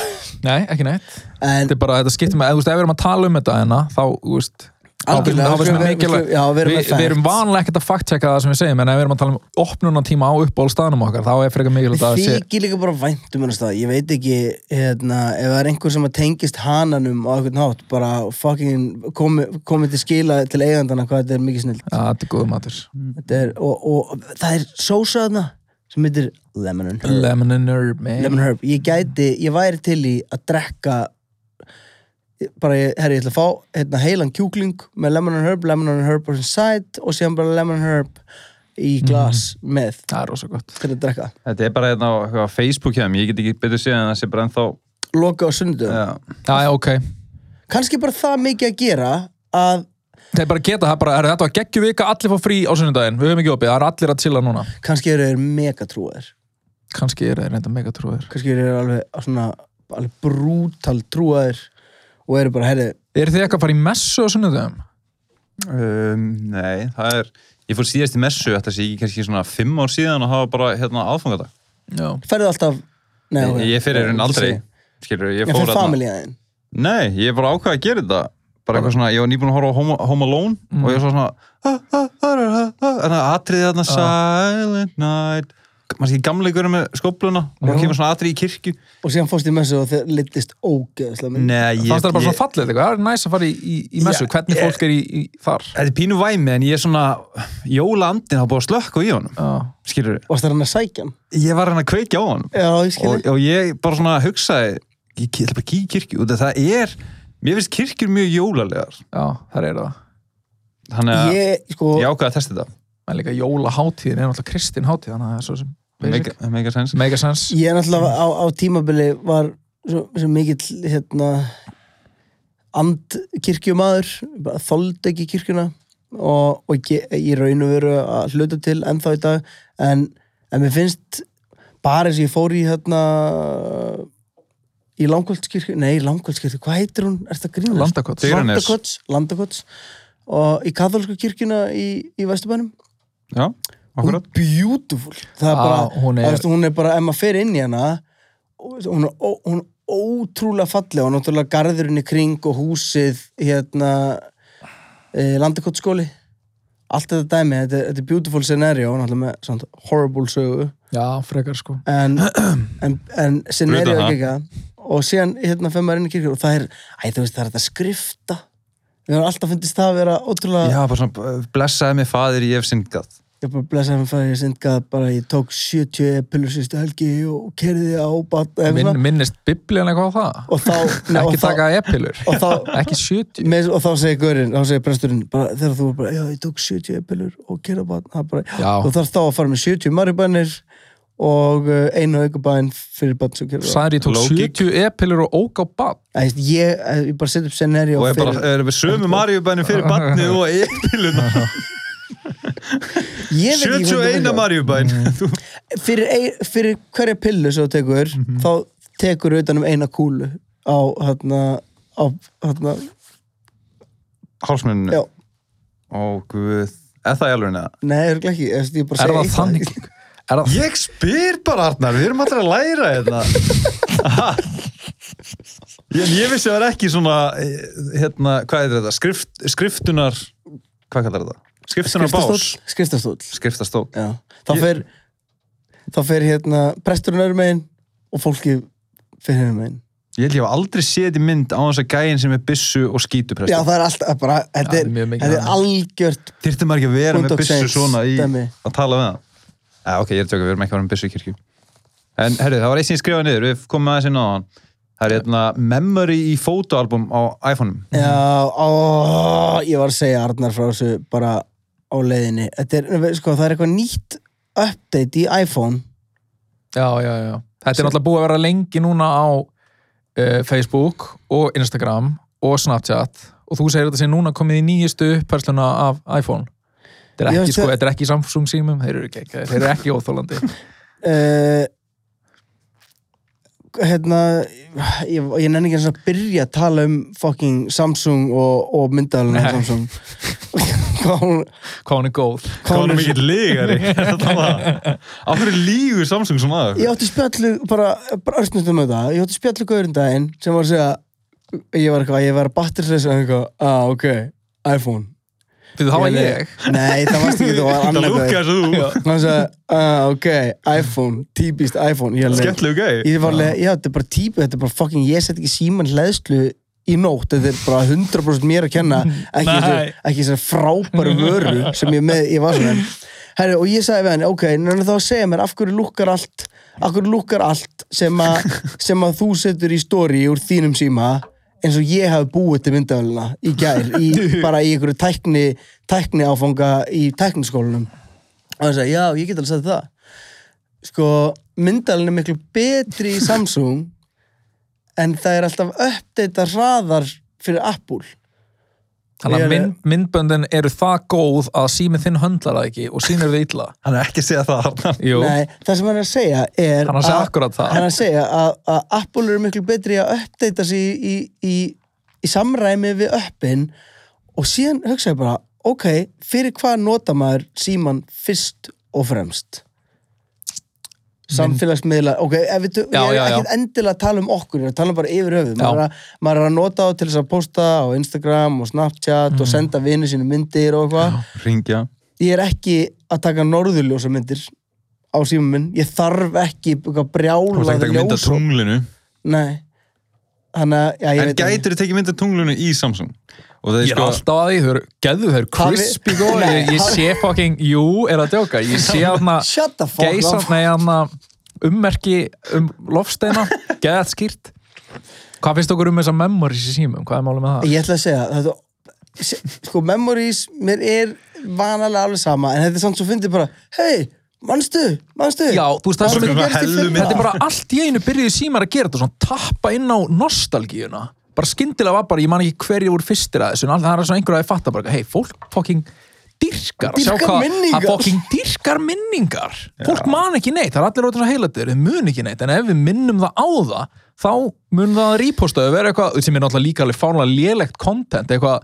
Speaker 2: nei, ekki neitt
Speaker 1: En
Speaker 2: þetta er bara, þetta skiptir með, ef þú veist, ef við erum að tala um þetta hérna, þá, þú veist þá
Speaker 1: Algjörlega,
Speaker 2: finnst mér- þá finnst mér
Speaker 1: við-
Speaker 2: mikilvægt-
Speaker 1: við- já, við erum með
Speaker 2: við við erum
Speaker 1: facts.
Speaker 2: vanlega ekkert að fact-checka það sem við segjum en ef við erum að tala um opnunartíma á uppbólstaðnum okkar þá er frekar mikilvægt að það sé
Speaker 1: þykir líka bara vænt um hennar stað ég veit ekki, hérna, ef það er einhver sem að tengist hananum á einhvern hátt bara fucking komi, komi til skila til eigandana hvað þetta er mikið snill
Speaker 2: Já, þetta er góður matur
Speaker 1: er, og, og það er sósa þarna sem heitir lemon and herb,
Speaker 2: Lemon and herb, man
Speaker 1: lemon and herb. ég gæti, ég væri til í að drekka bara, ég- herri, ég ætla að fá hérna, heilan kjúkling með lemon and herb lemon and herb on side og síðan bara lemon and herb í
Speaker 3: Mhm.
Speaker 1: glas með
Speaker 2: Það er rosa gott
Speaker 1: til að drekka
Speaker 3: Þetta er bara hérna á eitthvað á Facebook hjá þeim, ég get ekki betur séð en það sé bara ennþá
Speaker 1: loka á sundum
Speaker 3: Já,
Speaker 2: Já, já, ok
Speaker 1: kannski bara það mikið að gera að
Speaker 2: Þeir bara geta það, bara, er, þetta var geggjum vika, allir fá frí á sunnudaginn Við höfum ekki opið, það er allir að chilla núna
Speaker 1: kannski eru þeir megatrúar
Speaker 2: Kanski eru þeir reynda megatrúðir
Speaker 1: kannski eru þeir alveg svona alveg brútal trúar og eru bara, herri,
Speaker 2: Eru þið eitthvað að fara í messu á sunnudaginn?
Speaker 3: um, nei, það er Ég fór síðast í messu, þetta sé ekki kannski svona fimm ár síðan og hafa bara hérna aðfangadag.
Speaker 2: já,
Speaker 1: Ferðu alltaf Nei,
Speaker 3: Ég, ég fyrir henni aldrei, skilur, ég
Speaker 1: Ég
Speaker 3: fór hérna-
Speaker 1: fyrir family aðeins
Speaker 3: Nei, ég bara ákvað að gera þetta. Bara eitthvað svona, ég var nýbúin að horfa á Home, Home Alone og
Speaker 2: Mm.
Speaker 3: ég var svona Þannig að atriði þarna
Speaker 2: Ah.
Speaker 3: Silent Night Maður sé gamleikur með skópluna og það kemur svona atriði í kirkju
Speaker 1: Og síðan fórst í messu og þeir litist ógeðslega mynd
Speaker 3: Nei, ég,
Speaker 2: fannst það bara
Speaker 3: ég,
Speaker 2: svona fallið eitthvað, það er næs að fara í, í, í messu,
Speaker 3: Já,
Speaker 2: hvernig
Speaker 3: ég-
Speaker 2: fólk er í, í þar
Speaker 3: Þetta er pínu væmi en ég er svona jólaandin hafa búið að slökka í honum
Speaker 2: já,
Speaker 3: skilur
Speaker 1: Og það er hann að sækja hann
Speaker 3: ég var hann að kveikja á honum
Speaker 1: Já, ég skil
Speaker 3: og, og ég bara svona hugsaði ég ég ætla bara að kíkja í kirkju út af það er, mér finnst kirkjur mjög jólalegar
Speaker 2: já, þar er það
Speaker 3: þannig að ég,
Speaker 1: Ég, sko
Speaker 3: ákvaði að testa þetta
Speaker 2: en líka jólaháttíðin er náttúrulega kristin hátíð þannig að það er svo sem basic.
Speaker 3: Mega- mega sens
Speaker 2: mega sens
Speaker 1: Ég er náttúrulega á, á tímabili var svo, svo mikill hérna, andkirkjumadur bara þoldi ekki kirkjuna og, og ég, ég raun og veru að hluta til ennþá í dag en, en mér finnst bara eins og ég fór í hérna í langkvöldskirkju, nei langkvöldskirkju, hvað heitir hún, er þetta grínast?
Speaker 2: landakots
Speaker 3: Þegar- Digranes.
Speaker 1: Landakots, Landakots og í katholsku kirkjuna í, í Vesturbænum
Speaker 3: já,
Speaker 1: hún er
Speaker 3: akkurat
Speaker 1: beautiful það er
Speaker 2: Já,
Speaker 1: bara,
Speaker 2: hún
Speaker 1: hún
Speaker 2: er-
Speaker 1: er, veist, hún er bara ef maður fer inn í hana hún er, ó- hún er ótrúlega falleg og náttúrulega garðurinn í kring og húsið hérna e, landakottskóli allt þetta dæmi, þetta, er- þetta er beautiful scenario náttúrulega með samt, horrible sögu
Speaker 2: já, frekar sko
Speaker 1: en, en, en scenario
Speaker 3: Brutal, ha?
Speaker 1: ekki ekki og síðan hérna fer maður inn í kirkjur og það er, æ, þú veist, það er þetta skrifta við erum alltaf fundist það að vera ótrúlega
Speaker 3: já, bara svona, eh, blessaði mig fadir ég hef syndgat
Speaker 1: Ég bara blessaði hann fyrir um ég syndgað bara ég tók 70 pillur síðustu helgi og kerði á bat
Speaker 2: Minn, minnist biblían eitthvað á það
Speaker 1: og þá, nei, og
Speaker 2: ekki
Speaker 1: þá,
Speaker 2: taka epilur
Speaker 1: og þá
Speaker 2: ekki 70
Speaker 1: með, og þá segir Guðurinn, þá segir presturinn bara, þegar þú var bara, já ég tók 70 pillur og kerði á bat, það bara,
Speaker 2: Já.
Speaker 1: þú þarfst þá að fara með 70 maribænir og uh, einu aukubæn fyrir bat sem kerði á
Speaker 2: Særi tók
Speaker 3: Lógík.
Speaker 2: 70 epilur og ók á bad
Speaker 1: Æ, ég, eh, ég, ég bara setja upp scenari
Speaker 3: og er bara, er við sömu marjubænum fyrir barnið og eipiluna
Speaker 1: ég veit ekki hvernig
Speaker 3: 71
Speaker 1: það er.
Speaker 3: marjubæn þú
Speaker 1: fyrir, ein- fyrir hverja pillu sem þú tekur þá tekur utan um eina kúlu á hérna á hérna
Speaker 3: hálsmenninu,
Speaker 1: Já.
Speaker 3: ó guð er það í alveg neða?
Speaker 1: Nei, örgulega ekki, Ég veist, ég bara
Speaker 2: er
Speaker 1: segi
Speaker 2: það þannig er það
Speaker 3: Ég spyr bara, Arnar, við erum allir að læra hérna. Ha? ég, ég vissi að það er ekki svona, eh, hérna, hvað er þetta, Skrift, skriftunar, hvað kallar þetta? Skriftunar bás.
Speaker 1: Skriftastóll Skriftastóll,
Speaker 3: Skriftastól.
Speaker 1: já Þá
Speaker 3: Ég-
Speaker 1: fer, þá fer hérna presturinn öðrum megin og fólki fer hérna megin
Speaker 3: Ég held ég hef aldrei séð í mynd á þess að gæin sem er byssu og
Speaker 1: Já,
Speaker 3: skítuprestur.
Speaker 1: það er alltaf bara, þetta
Speaker 2: Já,
Speaker 1: er,
Speaker 2: mjög mikið
Speaker 1: þetta er
Speaker 2: annað.
Speaker 1: algjört
Speaker 3: Þyrfti maður ekki að vera með
Speaker 1: Boondock
Speaker 3: byssu
Speaker 1: Saints,
Speaker 3: svona í
Speaker 1: dæmi.
Speaker 3: að tala við það? Já, ok, ég er að tjóka, við erum ekki að vera með byssu í kirkju. En, herru, það var eitt sem ég skrifaði niður, við komum aðeins inn á hann. Það er hérna memory í fotoalbum á iPhone-um.
Speaker 1: Eh,
Speaker 2: Mhm.
Speaker 1: Já, ó, ég var að segja Arnar frá þessu bara á leiðinni Þetta er, við- sko, það er eitthvað nýtt update í iPhone
Speaker 2: já, já, já. þetta er náttúrulega búið að vera lengi núna á uh, Facebook og Instagram og Snapchat og þú segir þetta sem núna komið í nýjustu uppfærsluna af iPhone þetta er
Speaker 1: Já,
Speaker 2: ekki, sko,
Speaker 1: þetta-
Speaker 2: þetta er ekki í Samsung símum þeir eru ekki, þeir eru ekki óþólandi
Speaker 1: uh, hérna ég, ég nenni ekki eins og að byrja að tala um fucking Samsung og, og myndaðalina
Speaker 2: Nei.
Speaker 1: Samsung hvað hún
Speaker 2: hvað hún er góð
Speaker 1: hvað hún er-
Speaker 3: mikill lígari Á hverju lígur Samsung svona að
Speaker 1: ég átti spjallu bara, bara örstnustum með það ég átti spjallu gaurin daginn sem var að segja ég var eitthvað, ég var að batterisleisa eitthvað, ah ok, iPhone
Speaker 2: fyrir það var ég
Speaker 1: nei, það varst ekki, það var
Speaker 3: Það
Speaker 1: annar
Speaker 3: lúkka
Speaker 1: gaur.
Speaker 3: þessu þú
Speaker 1: hann sagði, ah ok, iPhone típist iPhone, ég leik
Speaker 3: Skemmtilegu gæi
Speaker 1: Ég var alveg, já, þetta er bara típu, þetta er bara fucking, ég set ekki síman hleðslu í nótt, þetta er bara 100% mér að kenna, ekki
Speaker 2: Nei.
Speaker 1: þessu- ekki þessar frábæru vöru sem ég með, ég var svona, herri, og ég sagði við hann, ok, nefnir þá að segja mér, af hverju lúkkar allt, af hverju lúkkar allt sem, a, sem að þú setur í story úr þínum síma, eins og ég hafi búið til myndavölina í gær, í, bara í einhverju tækni, tækni áfanga í tækniskólanum, og hann sagði, já, ég get alveg sagt það sko, myndalinn er miklu betri í Samsung en það er alltaf uppdeita hraðar fyrir Apple
Speaker 2: þannig
Speaker 1: Ég
Speaker 2: að
Speaker 1: er-
Speaker 2: mynd, myndböndin eru það góð að símið þinn höndlar það ekki og sínir þið illa
Speaker 3: Hann er ekki að segja það Arnar.
Speaker 2: Jú,
Speaker 1: Nei, það sem hann er að segja er
Speaker 2: Hann er að segja akkurat það.
Speaker 1: hann er að segja að, að Apple eru miklu betri í að uppdeita sig í, í, í, í samræmi við uppin og síðan hugsa ég bara ok, fyrir hvað nota maður síman fyrst og fremst? Samfélagsmiðla, ok, ef við, ég
Speaker 2: Já, já,
Speaker 1: er
Speaker 2: já.
Speaker 1: ekkert endilega að tala um okkur, ég er að tala um bara yfir höfuð.
Speaker 2: Já.
Speaker 1: Maður er, að, maður er að nota þá til þess að posta á Instagram og Snapchat
Speaker 2: Mm.
Speaker 1: og senda vini sínu myndir og eitthvað.
Speaker 3: ringja
Speaker 1: Ég er ekki að taka norðurljósa myndir á símum minn. Ég þarf ekki eitthvað
Speaker 3: Þú veist ekki
Speaker 1: brjálaði
Speaker 3: að mynda
Speaker 1: ljós.
Speaker 3: tunglinu
Speaker 1: Nei. Þannig að, já, ég
Speaker 3: En
Speaker 1: veit ekki.
Speaker 3: gætur þið tekið mynda tunglinu í Samsung Og það er
Speaker 2: Ég er
Speaker 3: sko
Speaker 2: alltaf að því, þau eru, geðu þau eru
Speaker 1: Hafi-
Speaker 2: crispy góð,
Speaker 1: Nei,
Speaker 2: ég, ég sé fucking, jú, er að djóka, ég sé hana
Speaker 1: Shut the fuck
Speaker 2: geisa,
Speaker 1: up.
Speaker 2: nei hana ummerki um lofsteina, geða þetta skýrt. Hvað finnst okkur um þessa memories í símum, hvað er málum með það?
Speaker 1: Ég ætla að segja þetta, Sko, memories, mér er vanalega alveg sama En þetta er samt svo fyndið bara Hei, manstu, manstu
Speaker 2: Já, þú veist, það er svo
Speaker 3: Bara
Speaker 2: mikið,
Speaker 3: gerðist í hellu fyrra.
Speaker 2: þetta er bara allt í einu byrjuði símar að gera þetta, svona tappa inn á nostalgíuna. Bara skyndilega var bara, ég man ekki hverju voru fyrstir að þessu, en all- það er svona einhverja að fatta bara, hei, fólk fucking dyrkar, að sjá
Speaker 1: Dýrkar
Speaker 2: hvað-
Speaker 1: minningar.
Speaker 2: það fucking dyrkar minningar. Fólk man ekki neitt, það er allir orðin svo heilatur, þau mun ekki neitt, en ef við minnum það á það, þá mun það að reposta, þau vera eitthvað, sem er náttúrulega líka alveg fárlega lélegt content, eitthvað,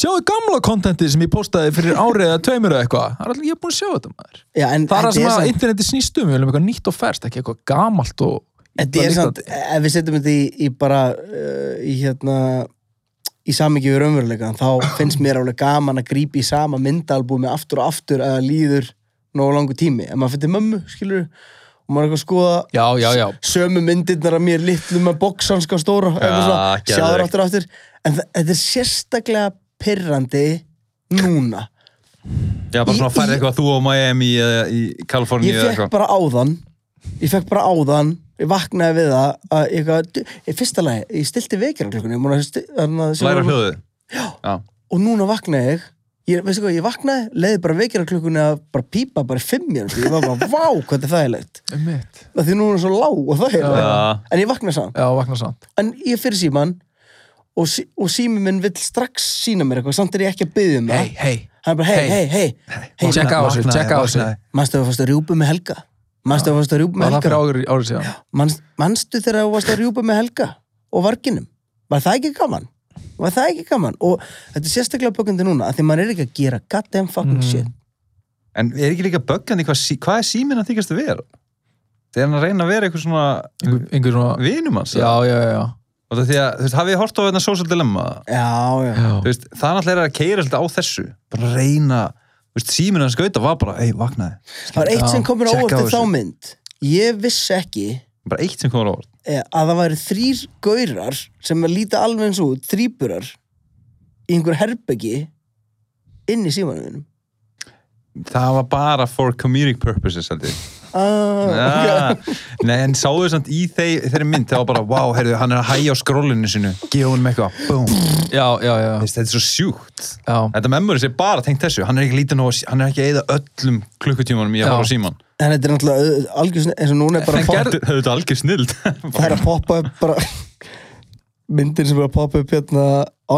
Speaker 2: sjáðu gamla contentið sem ég postaði fyrir árið eða tveimur eða eitthvað, það er allir, ég er búin að sjá þetta maður.
Speaker 1: Já, en
Speaker 2: Það er það
Speaker 1: þetta
Speaker 2: sem að
Speaker 1: samt-
Speaker 2: interneti snýst um, við viljum eitthvað nýtt og fært, ekki eitthvað gamalt og...
Speaker 1: Þetta er samt, ef við setjum þetta í, í bara uh, í hérna í samingi við raunveruleika þá finnst mér alveg gaman að grípa í sama myndalbúmi aftur og aftur að það líður nógu langu tími, en maður fyrir mömmu skilur, og maður er eitthvað að skoða
Speaker 2: Já, já, já.
Speaker 1: sömu myndirnar af mér litlu með boksanska stóra eitthvað svona,
Speaker 3: geðveikt.
Speaker 1: sjáður aftur og aftur en þa- þetta er sérstaklega pirrandi núna
Speaker 3: Já, bara svona
Speaker 1: Ég-
Speaker 3: færði
Speaker 1: ég-
Speaker 3: eitthvað þú á Miami eða í Kaliforníu
Speaker 1: ég
Speaker 3: eða
Speaker 1: fekk
Speaker 3: eitthvað
Speaker 1: bara áðan ég fekk bara áðan, ég vaknaði við það að ég eitthvað, í fyrsta lagi, ég stilti vekjara klukkunni, ég múin að, sti- þarna-
Speaker 3: Læra hljóðu
Speaker 1: og núna vaknaði ég ég, veistu hvað, ég vaknaði, leiði bara vekjara klukkunni að bara pípa bara í fimm mér ég var bara, vá, hvað er það er leitt
Speaker 2: Mitt.
Speaker 1: því núna er svo lág og það er en ég vaknaði samt
Speaker 2: Já, vakna samt.
Speaker 1: en ég fyrir síman og, sí, og sími minn vill strax sína mér eitthvað, samt er ég ekki að byggja um það
Speaker 2: Hei, hei.
Speaker 1: hann er bara, hei, hei, hei, hei,
Speaker 2: Tjekka á þessu, tjekka á þessu.
Speaker 1: manstu að þú fannst að rjúpa með helga manstu að þú fannst að rjúpa
Speaker 2: Var
Speaker 1: með
Speaker 2: það fyrir
Speaker 1: helga
Speaker 2: árið, árið síðan?
Speaker 1: Manst, manstu þegar þú fannst að rjúpa með helga og varginum, var það ekki gaman var það ekki gaman og þetta er sérstaklega bökandi núna, að því maður er ekki að gera goddamn fucking
Speaker 2: Mm.
Speaker 1: shit
Speaker 3: En er ekki líka böggandi hvað, sí- hvað er síminn að þykast að vera? Það er hann að reyna að vera eitthvað svona
Speaker 2: Einhver, einhver svona...
Speaker 3: vinum hans
Speaker 2: Já,
Speaker 3: eða?
Speaker 2: já, já.
Speaker 3: og það er því að, þú veist, hafið þið hort á þetta social dilemma
Speaker 1: já, já,
Speaker 2: já.
Speaker 3: þú veist, það náttúrulega er að keira svolítið á þessu bara reyna, þú veist, síminn hans gauta var bara, ei, vaknaði,
Speaker 1: það var eitt
Speaker 2: Já,
Speaker 1: sem komur á
Speaker 3: tjekka
Speaker 1: óvart
Speaker 3: á
Speaker 1: við þá
Speaker 3: þessu.
Speaker 1: mynd ég vissi ekki
Speaker 3: bara eitt sem komur á orð
Speaker 1: eh, að það væri þrýr gaurar sem að líta alveg eins út, þrýburar í einhver herbeggi inn í símanum þínum
Speaker 3: það var bara for comedic purposes held ég
Speaker 1: ah,
Speaker 3: Ah, Nei, en sáðu samt í þeir, þeirri mynd það var bara, wow, heyrðu, hann er að hæja á skrólinu sinu gefa honum eitthvað, búm Þú
Speaker 2: Já, já, já.
Speaker 3: veist, þetta er svo sjúkt
Speaker 2: Já.
Speaker 3: þetta memories er bara tengt þessu, hann er ekki lítið nóg hann er ekki að eyða öllum klukkutímanum í að
Speaker 2: Já.
Speaker 3: fara á síman
Speaker 1: en þetta er náttúrulega algjörn eins og núna er bara
Speaker 2: En
Speaker 1: að
Speaker 2: gerð-
Speaker 1: poppa,
Speaker 3: Þetta þetta er algjör snild
Speaker 1: það er að poppa upp bara myndir sem er að poppa upp hérna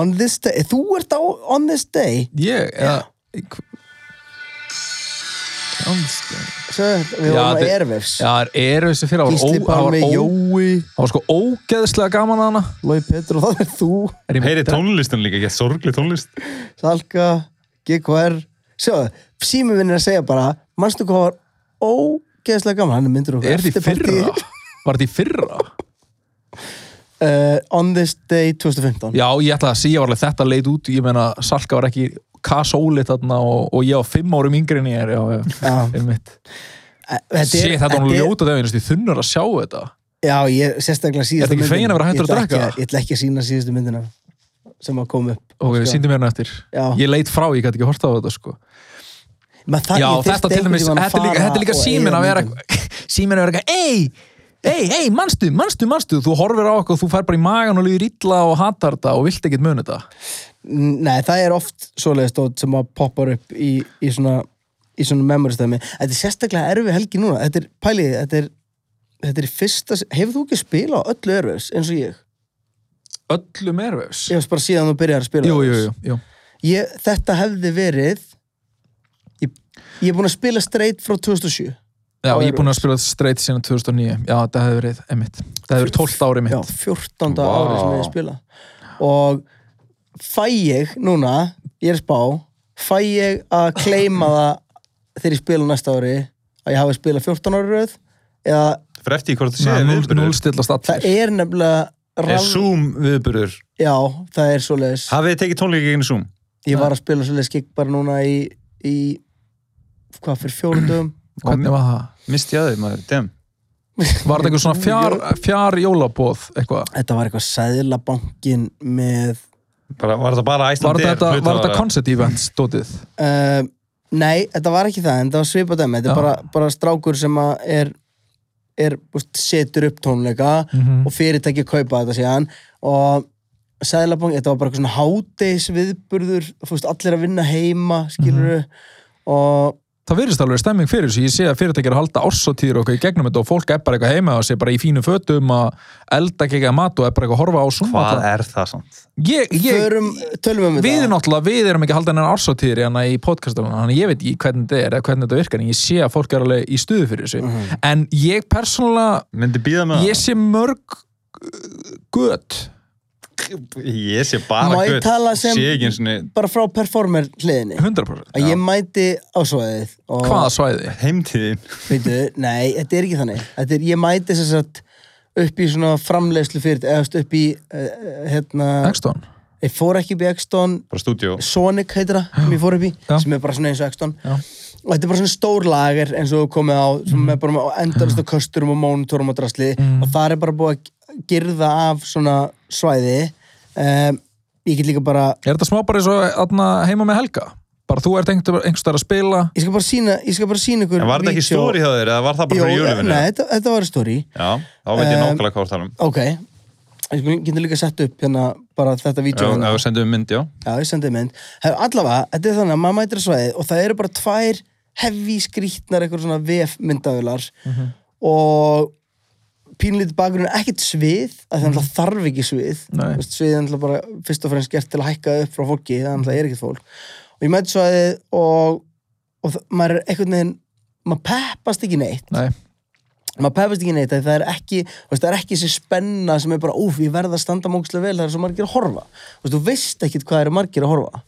Speaker 1: on this day, þú ert á on this day
Speaker 2: Ég, eða... Ánstæðan.
Speaker 1: Svo, við vorum
Speaker 2: Já,
Speaker 1: á
Speaker 2: þetta-
Speaker 1: Airwaves
Speaker 2: Já, það er þessi fyrir, það
Speaker 1: Gísli
Speaker 2: var ó- það var
Speaker 1: Palmi,
Speaker 2: ó-
Speaker 1: Jói,
Speaker 2: það var sko ógeðslega gaman að hana.
Speaker 1: Lói Petru og það er þú,
Speaker 2: Er ég-
Speaker 3: heyri tónlistin líka, ekki sorgli tónlist
Speaker 1: Salka GKR, sjáðu, sími minn er að segja bara, manstu hvað var ógeðslega gaman, hann er myndur okkur
Speaker 2: Er því
Speaker 1: eftirpartí.
Speaker 2: fyrra? Var því fyrra?
Speaker 1: uh, On This Day 2015
Speaker 2: Já, ég ætla að segja varlega þetta leit út ég meina, Salka var ekki kasólit þarna og, og ég á fimm árum yngri en ég er já, já,
Speaker 1: Já.
Speaker 2: einmitt
Speaker 1: Eh, þetta er-
Speaker 2: Sér, þetta var nú
Speaker 1: þetta er-
Speaker 2: ljóta daginn, ég þunnur að sjá þetta
Speaker 1: Já, ég sérstaklega síðustu
Speaker 2: Ertu ekki fegin að vera
Speaker 1: Ég
Speaker 2: hættur að
Speaker 1: ætla
Speaker 2: drekka?
Speaker 1: ekki Ég ætla ekki að sína síðustu myndina sem að koma upp Sko.
Speaker 2: og við síndum hérna eftir
Speaker 1: Já.
Speaker 2: ég leit frá, ég gæti ekki horta á þetta sko.
Speaker 1: Ma, það,
Speaker 2: Já,
Speaker 1: ég þyrfti
Speaker 2: þetta til
Speaker 1: einhvern
Speaker 2: dæmis,
Speaker 1: tímann að
Speaker 2: þetta er líka,
Speaker 1: fara
Speaker 2: þetta er líka
Speaker 1: og
Speaker 2: símin
Speaker 1: eyða
Speaker 2: að vera
Speaker 1: myndum.
Speaker 2: símin að vera eitthvað, ei, ei, ei manstu, manstu, manstu, þú horfir á okkur þú fær bara í magan og líður illa og hatar þetta og vilt ekkert muni þetta
Speaker 1: Nei, það er oft svoleiðist sem að poppar upp í, í svona í svona memoristæmi Þetta er sérstaklega erfi helgi núna Þetta er, pæliði, þetta er þetta er í fyrsta Hefur þú ekki spilað á öllu erfis eins og ég?
Speaker 2: Öllum er vefs
Speaker 1: Ég veist bara síðan þú byrjar að spila
Speaker 2: Jú, jú,
Speaker 1: Airwaves.
Speaker 2: jú, jú.
Speaker 1: ég, þetta hefði verið ég, ég er búin að spila straight frá 2007
Speaker 2: Já,
Speaker 1: Á
Speaker 2: ég er búin
Speaker 1: Airwaves.
Speaker 2: að spila straight síðan 2009 Já, þetta hefur verið, emitt Það hefur verið 12 árið
Speaker 1: já,
Speaker 2: mitt
Speaker 1: 14.
Speaker 3: Vá.
Speaker 1: árið sem ég spila og fæ ég núna, ég er að spá fæ ég að kleima það þegar ég spila næsta ári að ég hafi spilað 14 ári röð eða
Speaker 3: fyrir eftir því hvort þú séð viðburður
Speaker 2: núlstillast
Speaker 1: það
Speaker 2: allir
Speaker 1: er nefnilega
Speaker 3: er Zoom viðburður
Speaker 1: já, það er svoleiðis
Speaker 3: hafið þið tekið tónleika gegn Zoom
Speaker 1: ég var að spila svoleiðis gig bara núna í, í hvað fyrir fjórum dögum
Speaker 2: hvernig var það?
Speaker 3: misti að þið maður, dem
Speaker 2: Var þetta eitthvað svona fjár, fjár jólabóð eitthvað?
Speaker 1: þetta var eitthvað sæðlabankin með
Speaker 3: bara, var það bara
Speaker 2: Var
Speaker 3: Æslandir
Speaker 2: þetta, var þetta concert events, dótið?
Speaker 1: uh, nei, þetta var ekki það en það var svipað dæmi, þetta
Speaker 2: Já.
Speaker 1: er bara, bara strákur sem að er, er úst, setur upp tónleika
Speaker 2: Mm.
Speaker 1: og fyrirtæki kaupa þetta síðan og sæðlabank, þetta var bara eitthvað svona hádeis viðburður, fúst, allir að vinna heima skilur
Speaker 2: Mhm.
Speaker 1: og
Speaker 2: Það verðist alveg stemming fyrir þessu, ég sé að fyrirtæki er að halda ársátýður okkur í gegnum þetta og fólk er bara eitthvað heima og sé bara í fínu fötum að elda gegga mat og er bara eitthvað að horfa á svona
Speaker 3: hvað er það samt?
Speaker 2: Ég, ég,
Speaker 1: förum, tölum um
Speaker 2: við
Speaker 1: þetta
Speaker 2: náttúrulega, við erum ekki að halda hennar ársátýður hérna í podcastunum, þannig ég veit ekki hvernig þetta er eða hvernig þetta virkar, en ég sé að fólk er alveg í stuðu fyrir þessu,
Speaker 1: Mhm.
Speaker 2: en ég persónulega
Speaker 3: myndi býða með
Speaker 2: ég sé mörg uh, gött
Speaker 3: það ég sé bara
Speaker 1: Má ég
Speaker 3: gutt.
Speaker 1: tala sem-
Speaker 3: sé ekki eins og
Speaker 1: bara frá performer hliðinni
Speaker 2: 100%
Speaker 1: að ég mæti á svoðið og
Speaker 2: hvaða svæði?
Speaker 3: heimtíðin
Speaker 1: Veitu, nei, þetta er ekki þannig þetta er, ég mæti þess að upp í svona framleiðslu fyrir eða þú veist, upp í uh, hérna,
Speaker 2: Ekston?
Speaker 1: ég fór ekki upp í Exton
Speaker 3: bara stúdíó
Speaker 1: Sonic heitir það, sem ég fór upp í
Speaker 2: Já.
Speaker 1: sem er bara svona eins og Exton
Speaker 2: Já.
Speaker 1: og þetta er bara svona stór lager eins og þú komið á sem
Speaker 3: Mm.
Speaker 1: er bara með endalastu kösturum og mónitorum og drasli og það er bara búið að girða af svona svæði um, ég get líka bara
Speaker 2: Er þetta smá bara eins og atna, heima með Helga? Bara þú ert einhverstað að spila
Speaker 1: ég skal bara sína, ég skal bara sína ykkur
Speaker 3: en var þetta ekki
Speaker 1: vídeó-
Speaker 3: stóri hjá þér eða var það bara
Speaker 1: Jó,
Speaker 3: fyrir
Speaker 1: nei,
Speaker 3: júlifinu?
Speaker 1: þetta, þetta var stóri
Speaker 3: já, þá veit ég
Speaker 1: Um,
Speaker 3: nákvæmlega hvað það er um
Speaker 1: Ok, ég getur líka sett upp hérna bara þetta hérna. vídeo
Speaker 3: Já, ef við sendum mynd, já
Speaker 1: Já, ég sendið mynd Hef, Allavega, þetta er þannig að maður mætir á svæðið og það eru bara tvær heavy skrýtnar eitthvað svona vefmyndavilar mm og pínlítið bakgrunn er ekkert svið að það mm. þarf ekki svið
Speaker 2: Nei.
Speaker 1: Þú veist, svið er náttúrulega bara fyrst og fremst gert til að hækka upp frá fólki, það náttúrulega er ekkert fólk og ég mæti svæðið og, og það- maður er einhvern veginn maður peppast ekki neitt
Speaker 2: Nei,
Speaker 1: maður pefist ekki neitt að það er ekki þú veist, það er ekki þessi spenna sem er bara úf, ég verð að standa mókslega vel, það er svo margir að horfa þú veist, þú veist ekkit hvað eru margir að horfa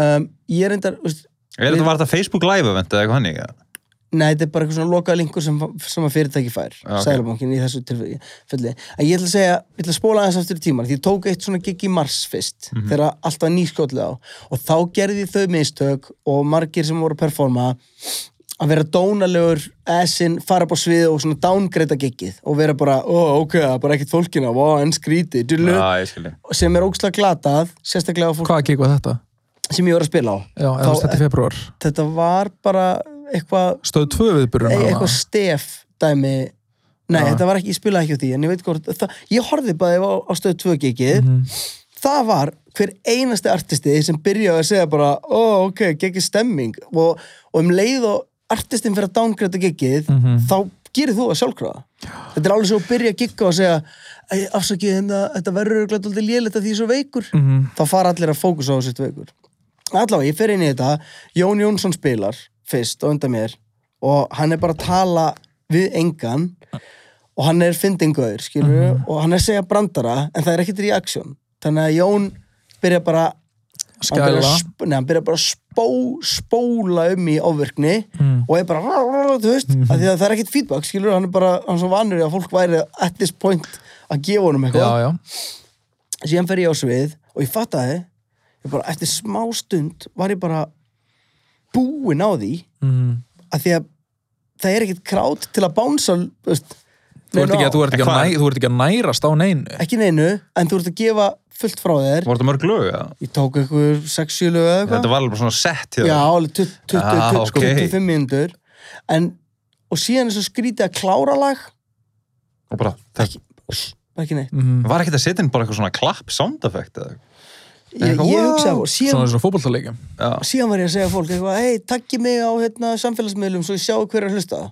Speaker 1: um, ég er reyndar þú veist,
Speaker 3: Er þetta var þetta Facebook live event eða eitthvað hann ekki?
Speaker 1: nei, þetta er bara eitthvað svona lokað linkur sem, sem að fyrirtæki fær
Speaker 2: Ah,
Speaker 3: Já, ok.
Speaker 1: okay. í þessu tilfelli en ég ætla að segja, ég ætla að spóla aðeins aftur í tíman því ég tók eitt svona gig í mars fyrst
Speaker 2: Mhm.
Speaker 1: þegar allt var nýskotlega á og þá gerði ég þau mistök og margir sem voru að performa að vera dónalegur essin, fara upp á sviði og svona downgreita giggið og vera bara, ó, ok, það er bara ekkert fólkina, ó, enn skríti, dullu,
Speaker 2: Ah.
Speaker 3: Já, ég skilji
Speaker 1: sem er ógslag glatað, sérstaklega á fólk
Speaker 2: hvaða gig var þetta?
Speaker 1: sem ég var að spila á.
Speaker 2: Já, eða þú
Speaker 1: e-
Speaker 2: veist, þetta er februar
Speaker 1: Þetta var bara eitthvað,
Speaker 2: Stöð hérna. 2 viðbyrjun
Speaker 1: e- eitthvað stef dæmi, nei, þetta var ekki, ég spilaði ekki á því, en ég veit hvort, það, ég horfði bara á, á stöð 2 giggið, það var hver einasti artisti sem byrjaði að segja bara, ó, ok, geggir stemming og, og um leið og artistin fyrir að downgreita geggið þá gerir þú það sjálfkrafa þetta er alveg svo að byrja að gigga og segja "Æ, afsakið, hérna, þetta verður glætt alltaf lélegt að því ég er svo veikur þá fara allir að fókusa á sitt veikur allavega, ég fer inn í þetta Jón Jónsson spilar fyrst og undan mér og hann er bara að tala við engan og hann er fyndingaður, skilur og hann er að segja brandara, en það er ekkert í aksjón þannig að Jón byrja bara hann byrjar
Speaker 2: Skæla
Speaker 1: að sp- Nei, hann byrja bara að spó, spóla um í ofvirkni og er bara, þú veist, mm því að það er ekkert feedback, skilur, hann er bara, hann er svo vanur í að fólk væri at this point að gefa honum
Speaker 2: Já,
Speaker 1: eitthvað.
Speaker 2: já,
Speaker 1: Síðan fer ég á svið og ég fattaði, ég bara, eftir smá stund var ég bara búin á því
Speaker 2: mm.
Speaker 1: að því að það er ekkert krát til að bánsa, þú veist,
Speaker 2: þú ert
Speaker 1: neinu
Speaker 2: ekki,
Speaker 1: á.
Speaker 2: þú ert ekki, að,
Speaker 3: En hvað?
Speaker 2: næ, þú ert ekki að nærast á neinu
Speaker 1: ekki neinu, en þú ert að gefa fullt frá þér.
Speaker 3: Var þetta mörg lög? eða?
Speaker 1: Ég tók einhver 6-7 lög eða eitthvað.
Speaker 3: Þetta var alveg bara svona sett hjá
Speaker 1: Já,
Speaker 3: þér
Speaker 1: alveg 20, 20,
Speaker 3: Ah,
Speaker 1: 20,
Speaker 3: ok.
Speaker 1: 25 mínútur en, og síðan er svo skrítið að klára lag
Speaker 3: Og bara, það
Speaker 1: ekki, pss, bara ekki neitt
Speaker 2: mm.
Speaker 3: var ekkert að setja inn bara eitthvað svona klapp sound effect eða eitthvað?
Speaker 1: ég,
Speaker 3: Eitthvað,
Speaker 1: ég
Speaker 3: wow.
Speaker 1: hugsaði og
Speaker 2: Svona
Speaker 1: síðan,
Speaker 2: svona fótboltalegjum
Speaker 3: Já,
Speaker 1: síðan var ég að segja fólk eitthvað, hei, takki mig á hérna, samfélagsmiðlum svo ég sjáu hverju að hlusta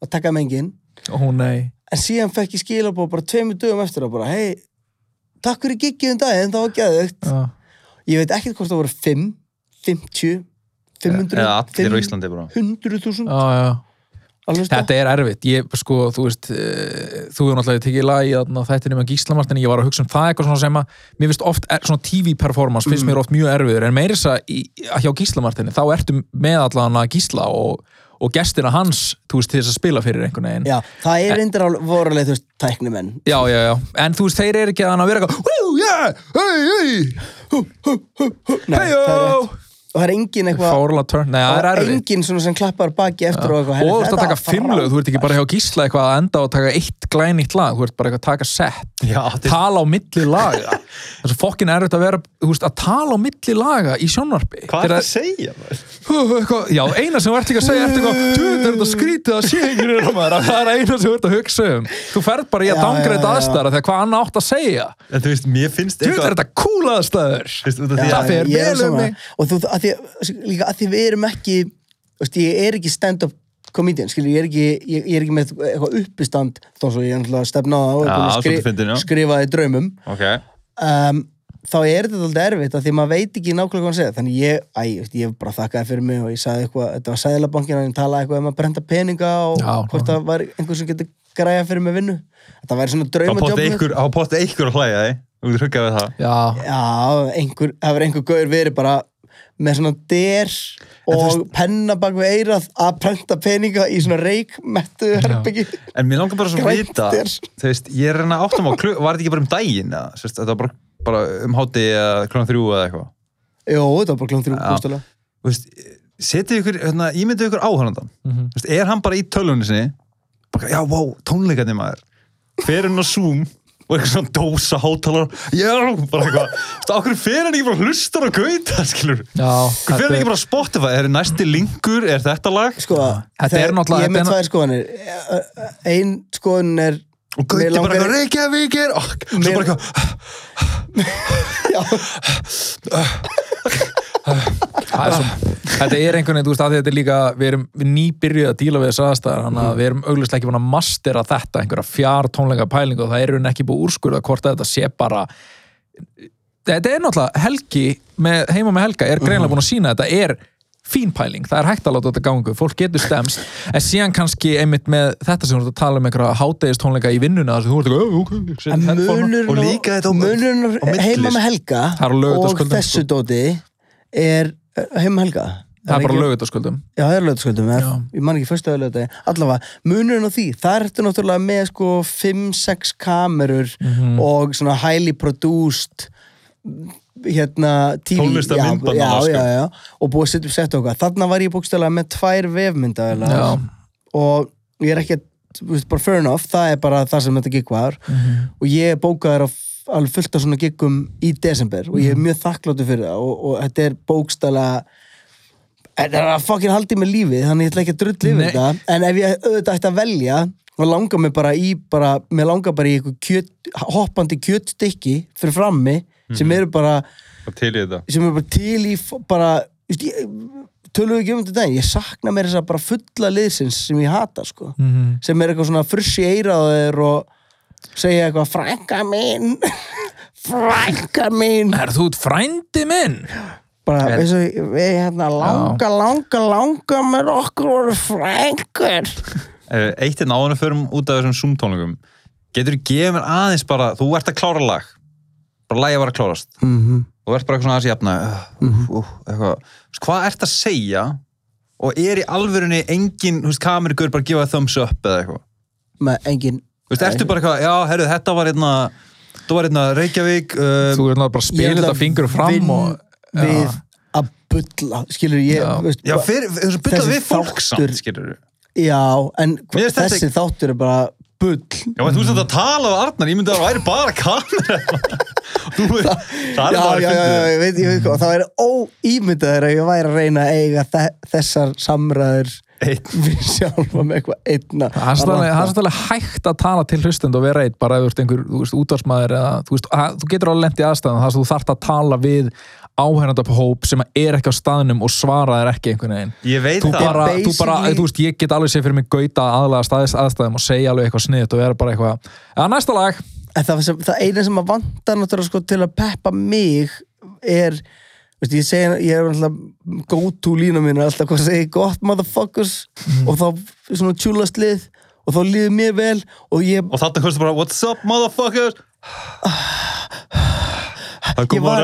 Speaker 1: og takka mig enginn
Speaker 2: Ó nei,
Speaker 1: en síðan fekk ég skilabóð bara tveimur dögum eftir og bara, hei, takk fyrir giggið um daginn, það var geðugt
Speaker 2: já,
Speaker 1: ég veit ekki hvort það voru 5, 50 500,
Speaker 3: eða allir á Íslandi bara
Speaker 1: 100.000
Speaker 2: já, já
Speaker 1: alveg
Speaker 2: Þetta er erfitt, ég, sko, þú veist eh, þú hefur náttúrulega tekið lag í þarna þættinu með Gíslamartin, ég var að hugsa um það eitthvað svona sem að, mér finnst oft, er, svona TV performance finnst mér oft mjög erfiður, en meira þess að í- að hjá Gíslamartinu, þá ertu með allan að Gísla og, og gestina hans, þú veist, til þess að spila fyrir einhvern veginn.
Speaker 1: Já, það er reyndir alveg vorulega, þú veist, tæknimenn.
Speaker 2: já, já, já. en þú veist, þeir eru ekki að hann að vera eitthvað, "Woo, yeah, hey,
Speaker 1: Nei,
Speaker 2: hey,
Speaker 1: það er
Speaker 2: hey,
Speaker 1: rétt. Og það er engin eitthvað,
Speaker 2: Fárla turn, nei, það er
Speaker 1: og
Speaker 2: erfitt.
Speaker 1: engin svona sem klappar baki eftir og eitthvað.
Speaker 2: og
Speaker 1: herri,
Speaker 2: þú ert að
Speaker 1: þetta
Speaker 2: taka fimm lög, þú ert ekki bara hjá gísla eitthvað að enda og taka eitt glænýtt lag, þú ert bara eitthvað að taka sett
Speaker 3: Já, þetta er-
Speaker 2: tala á milli laga það er svo fokkin erfitt að vera, þú veist, að tala á milli laga í sjónvarpi Þegar
Speaker 3: Hvað er það að segja? maður?
Speaker 2: að- eitthvað- já, eina sem þú ert líka að segja ert eitthvað, djöðu, er þetta skrítið að sé einhverjum hérna, maður?" það er eina sem þú ert að hugsa um þú ferð bara í
Speaker 1: Já,
Speaker 2: að
Speaker 1: já,
Speaker 2: dangreit
Speaker 1: já.
Speaker 2: aðstæðara þegar hvað annað átt að segja
Speaker 3: En þú veist, mér finnst
Speaker 2: djöðu, er þetta cool aðstæður
Speaker 3: Þú veist, út af
Speaker 1: Já,
Speaker 3: því
Speaker 2: Það
Speaker 3: að
Speaker 2: fer
Speaker 1: ég er
Speaker 2: vel um
Speaker 1: sammála.
Speaker 2: mig.
Speaker 1: Og þú, að því, líka að því við erum ekki, þú veist, ég er ekki stand-up comedian, skilur, ég er ekki, ég, ég er ekki með eitthvað uppistand, þó svo ég er náttúrulega stefnað á og
Speaker 3: Já,
Speaker 1: búin að
Speaker 3: svolítið fyndin, já.
Speaker 1: skrifaði draumum.
Speaker 3: Ok,
Speaker 1: um, þá er þetta alltaf erfitt af því maður veit ekki nákvæmlega hvað hann segja þannig ég, æ, ég, veist, ég bara þakkaði fyrir mig og ég sagði eitthvað, þetta var sæðlabankin hann talaði eitthvað um að brenda peninga og
Speaker 2: Já,
Speaker 1: hvort
Speaker 2: já.
Speaker 1: það var einhver sem getur græja fyrir mig vinnu þetta væri svona
Speaker 3: þá
Speaker 1: draumadjófnir
Speaker 3: potta ykkur, þá potta ykkur að hlæja þig Þú getur huggað við það
Speaker 2: já,
Speaker 1: já, einhver, það var einhver gaur verið bara með svona der og penna bak við eirað að prenta peninga í svona reik mettu herbyggi
Speaker 3: En mér langar bara svo að
Speaker 1: Grænt
Speaker 3: vita
Speaker 1: er.
Speaker 3: Þú veist, ég er hérna áttum á klug Var þetta ekki bara um daginn? eða? Þú veist, Þetta var bara, bara um háti eða klunum þrjú eða eitthvað
Speaker 1: Jó, þetta var bara klangtur um
Speaker 3: Já.
Speaker 1: bústulega
Speaker 3: Þú veist, Setið ykkur, hérna, ímyndið ykkur áhörnandan
Speaker 2: Mhm.
Speaker 3: Þú veist, Er hann bara í tölunni sinni? Bara, já, wow, tónleikarnir maður Fer hann á Zoom og eitthvað svona dósa hátalar Já, bara eitthvað Þú veist, Akkur fer hann ekki bara hlustar og gauta, skilur
Speaker 2: já
Speaker 3: Akkur fer hann ekki bara á Spotify Er næsti linkur, er þetta lag?
Speaker 1: sko,
Speaker 2: Þetta
Speaker 1: þegar-
Speaker 2: er náttúrulega-
Speaker 1: ég er með
Speaker 2: þetta er
Speaker 1: tvær skoðanir e, ein skoðan er
Speaker 3: Og
Speaker 1: Mig
Speaker 3: gauti bara
Speaker 1: langar-
Speaker 3: eitthvað Reykjavík er og Svo
Speaker 1: Mér-
Speaker 3: bara eitthvað
Speaker 1: já
Speaker 2: Það er svo, Ah. þetta er einhvern veginn, þú veist, að þetta er líka, við erum við nýbyrjuð að díla við þess aðstæðar, þannig að við erum auglustlega ekki búin að mastera þetta, einhverja fjár tónleika pælingu og það er hún ekki búið að úrskurða hvort að þetta sé bara, þetta er náttúrulega Helgi, með, heima með Helga, er greinlega búin að sína að þetta er fín pæling, það er hægt að láta þetta gangu, fólk getur stemst, en síðan kannski einmitt með þetta sem þú ert að tala um einhverja hátegistónleika í vinnuna, þar sem þú ert eitthvað, "Ó, ok, ég set
Speaker 1: En
Speaker 2: headphone á."
Speaker 1: munurinn
Speaker 3: Og
Speaker 1: á-
Speaker 3: líka þetta á-
Speaker 1: munurinn á-
Speaker 3: á milli,
Speaker 1: heima með
Speaker 3: sko.
Speaker 1: Helga
Speaker 2: Það er á sko.
Speaker 1: og
Speaker 2: laugardagskvöldum,
Speaker 1: þessu dóti er er heima með Helga
Speaker 2: það er bara
Speaker 1: ekki-
Speaker 2: lögutasköldum.
Speaker 1: Já, það er lögutasköldum,
Speaker 2: Já.
Speaker 1: ég man ekki fyrstu að lögutagi Allavega, munurinn á því, það ertu náttúrulega með sko 5-6 kamerur og svona highly produced hérna TV
Speaker 3: Tónlist af
Speaker 1: já,
Speaker 3: myndbandana,
Speaker 1: já,
Speaker 3: sko.
Speaker 1: já, já, og búið að setja upp sett okkar þarna var ég bókstæðlega með tvær vefmyndaðilega
Speaker 2: Já.
Speaker 1: og ég er ekki að þú veist, bara fair enough, það er bara það sem þetta gig var og ég er bókaður á f- alveg fullt af svona gigum í desember og ég er mjög þakkláttur fyrir það og, og þetta er bókstæðlega þetta er að fucking haldið með lífið þannig ég ætla ekki að drulli yfir
Speaker 2: Nei.
Speaker 1: þetta en ef ég auðvitað ætti að velja þá langar mér bara í bara, mér langar bara í eitthvað kjöt, hoppandi kjötstykki fyrir frammi sem eru bara
Speaker 3: Og til í þetta
Speaker 1: sem er bara til í f- bara, þú veist, ég, tölum við ekki um þetta daginn ég sakna mér þess að bara fulla liðsins sem ég hata sko
Speaker 2: Mhm.
Speaker 1: sem er eitthvað svona fruss í eiraður og segja eitthvað frænka mín frænka mín
Speaker 2: Er þú út frændi minn?
Speaker 1: bara eins og ég- við hérna langa langa langa með okkur voru frænkur
Speaker 3: Eh, Eitt er náðan að förum út af þessum Zoom-tónleikum Getur þú gefið mér aðeins bara Þú ert að klára lag Bara lagið var að klárast
Speaker 1: mm -hmm.
Speaker 3: Þú ert bara eitthvað svona aðeins jafna uh,
Speaker 1: Mhm.
Speaker 3: uh, eitthvað. Þú veist, Hvað ert að segja Og er í alvörunni engin þú veist, Kamerugur bara að gefa thumbs up eða eitthvað
Speaker 1: með engin
Speaker 3: Þú veist, Ertu bara eitthvað Já, herru, þetta var einna Þetta var einna Reykjavík uh,
Speaker 2: Þú er náttúrulega bara að spila þetta fingur fram og...
Speaker 1: vinn við að bulla skilur ég
Speaker 2: Já.
Speaker 1: veist,
Speaker 3: Já,
Speaker 1: bara-
Speaker 3: fyrir, þú veist, byrja
Speaker 1: Þessi
Speaker 3: við fólk
Speaker 1: þáttur-
Speaker 3: samt, skilur
Speaker 1: já en
Speaker 3: Mér finnst þetta
Speaker 1: þessi þáttur er bara bull
Speaker 3: Já, en þú veist að tala á Arnar, ég myndi að það væri bara kamera Þú veist, það er
Speaker 1: já,
Speaker 3: bara
Speaker 1: já, já,
Speaker 3: fyndið.
Speaker 1: já, ég veit, ég veit hvað, það væri óýmyndaður að ég væri að reyna að eiga þe þessar samræður
Speaker 3: Einn.
Speaker 1: við sjálfa með eitthvað einna
Speaker 2: Það er
Speaker 1: að
Speaker 2: svolítið- það er
Speaker 1: ranta.
Speaker 2: svolítið hægt að tala til hlustend og vera eitt bara ef þú ert einhver þú veist, útvarsmaður eða þú, veist, að, þú getur alveg lent í aðstæðan þar sem þú þart að tala við áhærandapahóp sem er ekki á staðnum og svara þér ekki einhvern veginn
Speaker 3: Ég veit
Speaker 2: þú
Speaker 3: það
Speaker 2: bara,
Speaker 1: Basically-
Speaker 2: þú bara, þú veist, ég get alveg sér fyrir mig gauta aðlega staðis aðstæðum og segja alveg eitthvað sniðt og vera bara eitthvað að næsta lag,
Speaker 1: En það, sem, það eina sem að vanda náttúrulega sko til að peppa mig er veist, ég,
Speaker 2: Mhm.
Speaker 1: segi, ég er alltaf go to lína mín er alltaf hvað segi gott motherfuckers og þá svona tjúlast lið og þá líður mér vel og ég,
Speaker 3: Og þetta hverstu bara, what's up motherfuckers Það
Speaker 1: ég
Speaker 3: kom á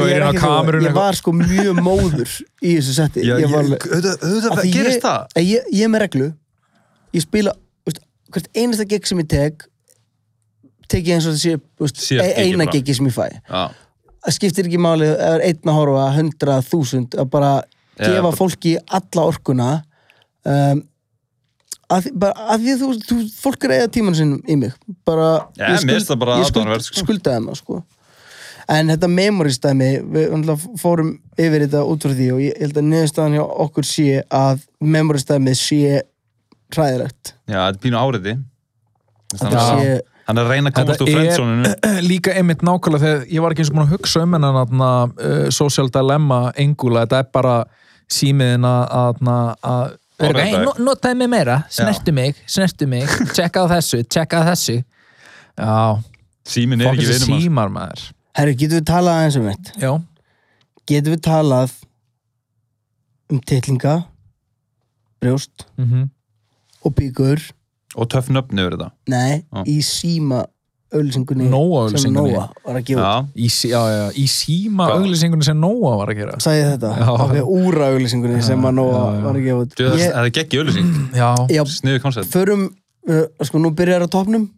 Speaker 1: ég,
Speaker 2: Gaurinn
Speaker 1: er
Speaker 2: á
Speaker 1: ekki að
Speaker 2: kamerunni
Speaker 1: ljóga,
Speaker 2: eitthvað.
Speaker 1: ég var sko mjög móður í þessu setti
Speaker 3: Já,
Speaker 1: ég
Speaker 3: ég-
Speaker 1: var alveg-
Speaker 3: auðvitað
Speaker 1: Af
Speaker 3: auðvitað
Speaker 1: því
Speaker 3: gerist
Speaker 1: ég,
Speaker 3: það
Speaker 1: að Ég, ég er með reglu Ég spila, veist, hvert einasta gig sem ég tek tek ég eins og þessi veist,
Speaker 3: Síðasta
Speaker 1: e-
Speaker 3: giggið
Speaker 1: eina
Speaker 3: bara.
Speaker 1: gigi sem ég fæ
Speaker 3: Já,
Speaker 1: Það skiptir ekki máli, ef það er einn að horfa hundra, þúsund, að bara
Speaker 3: Já,
Speaker 1: gefa
Speaker 3: bara-
Speaker 1: fólki alla orkuna um, að, því- bara, að því að þú, þú fólk er að eða tíman sinn í mig bara,
Speaker 3: Já, mér finnst það bara
Speaker 1: ég skuld,
Speaker 3: aðdáunarvert, sko.
Speaker 1: skuldaði maður sko en þetta memoristæmi við náttúrulega fórum yfir þetta út frá því og ég held að niðurstaðan hjá okkur sé að memoristæmi sé hræðilegt
Speaker 3: já, þetta er pínu áriði
Speaker 1: Þetta sé,
Speaker 3: Hann er að reyna að komast
Speaker 2: Þetta
Speaker 3: úr
Speaker 2: er-
Speaker 3: frendsóninu
Speaker 2: líka einmitt nákvæmlega þegar ég var ekki eins og búin að hugsa um hennan aðna, uh, social dilemma engula, þetta er bara símiðin að aðna, að
Speaker 3: Orðaði.
Speaker 2: Hey, no- notaði mig meira, snertu mig, snertu mig tjekka á þessu, tjekka á þessu já,
Speaker 3: Símin er
Speaker 2: fokk
Speaker 3: ekki
Speaker 2: þessi
Speaker 3: vinum hans
Speaker 2: símar maður
Speaker 1: herru, getum við talað eins um þetta
Speaker 2: já,
Speaker 1: getum við talað um titlinga brjóst
Speaker 2: mhm
Speaker 1: og byggur
Speaker 3: Og töff nöfn yfir þetta
Speaker 1: Nei,
Speaker 3: Já.
Speaker 1: í síma auðlýsingunni sem
Speaker 2: Nóa-auglýsingunni.
Speaker 1: Nóa var að gefa út.
Speaker 3: Já,
Speaker 2: í, sí- já, já, í síma
Speaker 3: Hvað?
Speaker 2: auglýsingunni sem Nóa var að gera
Speaker 1: sagði ég þetta,
Speaker 2: Já.
Speaker 1: ok, úra auðlýsingunni sem að Nóa
Speaker 2: já, já.
Speaker 1: var að gefa út
Speaker 3: Djöðast,
Speaker 1: ég,
Speaker 3: það er geggi öllusing
Speaker 2: já,
Speaker 1: Já,
Speaker 3: Sniðu koncept
Speaker 1: förum uh, sko, nú byrjar á topnum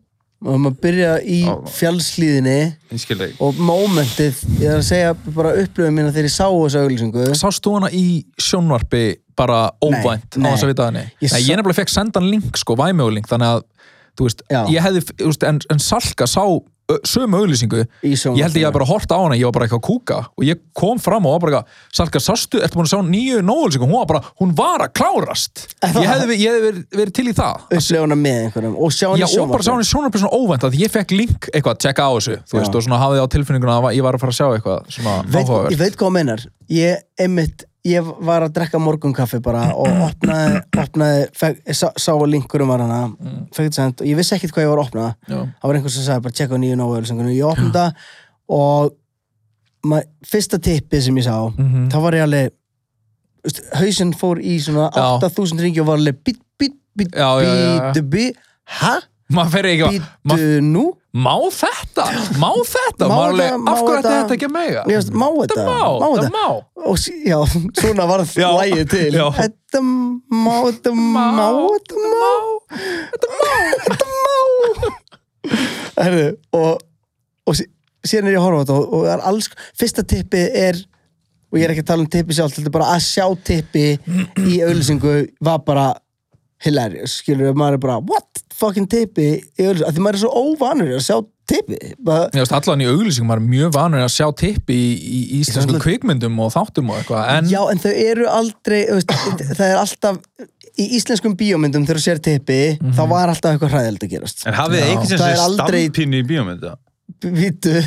Speaker 1: og maður byrja í
Speaker 3: Já.
Speaker 1: fjallslíðinni
Speaker 3: Ég skil það ekki
Speaker 1: og momentið, ég er að segja bara upplöfum mína þegar ég sá þessu auðlýsingu
Speaker 2: sástu hana í sjónvarpi bara óvænt á
Speaker 1: nei.
Speaker 2: þess að vita henni
Speaker 1: Ég
Speaker 2: ég, nei,
Speaker 1: sá-
Speaker 2: ég nefnilega fekk sendan link sko, væmjögulink þannig að, þú veist,
Speaker 1: Já.
Speaker 2: ég hefði þú veist, en, en Salka sá ö, sömu auglýsingu
Speaker 1: í
Speaker 2: ég held að ég
Speaker 1: sjónvarpinu.
Speaker 2: hef bara hort á hana, ég var bara eitthvað að kúka og ég kom fram og var bara eitthvað, Salka, sástu, ertu búin að sjá nýju nógulsingu hún var bara, hún var að klárast ég hefði, ver- ég hefði verið, verið til í það
Speaker 1: upplifuna með einhverjum og sjá hann
Speaker 2: Já,
Speaker 1: í
Speaker 2: og bara sá hann í sjónarpi svona óvænt að ég fekk link eitthvað að tjekka á þessu, þú
Speaker 1: Já.
Speaker 2: veist, og svona hafði á tilfinninguna að ég var að fara að sjá eitthvað svona
Speaker 1: veit, ég
Speaker 2: áhugavert.
Speaker 1: veit hvað þú meinar ég, einmitt, ég var að drekka morgunkaffi bara og opnaði, opnaði fek, sá, sá að linkurum var hana mm. send, og ég vissi ekkert hvað ég var að opna
Speaker 2: Já.
Speaker 1: það var einhver sem sagði bara tjekka á nýju náu ég opnaði það og ma, fyrsta tippið sem ég sá
Speaker 2: Mhm.
Speaker 1: þá var ég alveg veist, hausinn fór í svona
Speaker 2: Já.
Speaker 1: 8000 ringi og var alveg bít, bít, bít,
Speaker 2: Já, já, já, já.
Speaker 1: bít, bít hæ?
Speaker 2: Maður fer ekki að, ma,
Speaker 1: Bítu nú?
Speaker 2: má þetta? Má þetta?
Speaker 1: Má
Speaker 2: Má alveg,
Speaker 1: þetta, má
Speaker 2: af hverju ætti
Speaker 1: þetta?
Speaker 2: þetta ekki að mega?
Speaker 1: Ég veist, má þetta?
Speaker 2: Þetta má, þetta má.
Speaker 1: og s- já, svona var
Speaker 2: Já.
Speaker 1: lægið til
Speaker 2: Já.
Speaker 1: Þetta má, þetta má, þetta má
Speaker 2: Þetta má.
Speaker 1: Þetta má Herðu, og, og sí- síðan er ég að horfa á þetta og, og það er alls, fyrsta tippið er og ég er ekki að tala um tippi sjálf þetta er bara að sjá tippi í auðlýsingu var bara hilarious, skilur við, maður er bara what fucking tippi í auðlýsingu, af því maður er svo óvanur að sjá tippi bara,
Speaker 2: Ég veist, allan í auglýsingum, maður er mjög vanur að sjá tippi í, í íslenskum kvikmyndum og þáttum og eitthvað, en
Speaker 1: Já, en þau eru aldrei þú veist, það er alltaf í íslenskum bíómyndum þegar þú sér tippi
Speaker 3: Mhm.
Speaker 1: þá var alltaf eitthvað hræðilegt að gerast
Speaker 3: En hafið þið
Speaker 2: Já.
Speaker 3: eitthvað sem
Speaker 1: Það
Speaker 3: sé
Speaker 1: er aldrei-
Speaker 3: stampinni í bíómynda?
Speaker 1: Vítu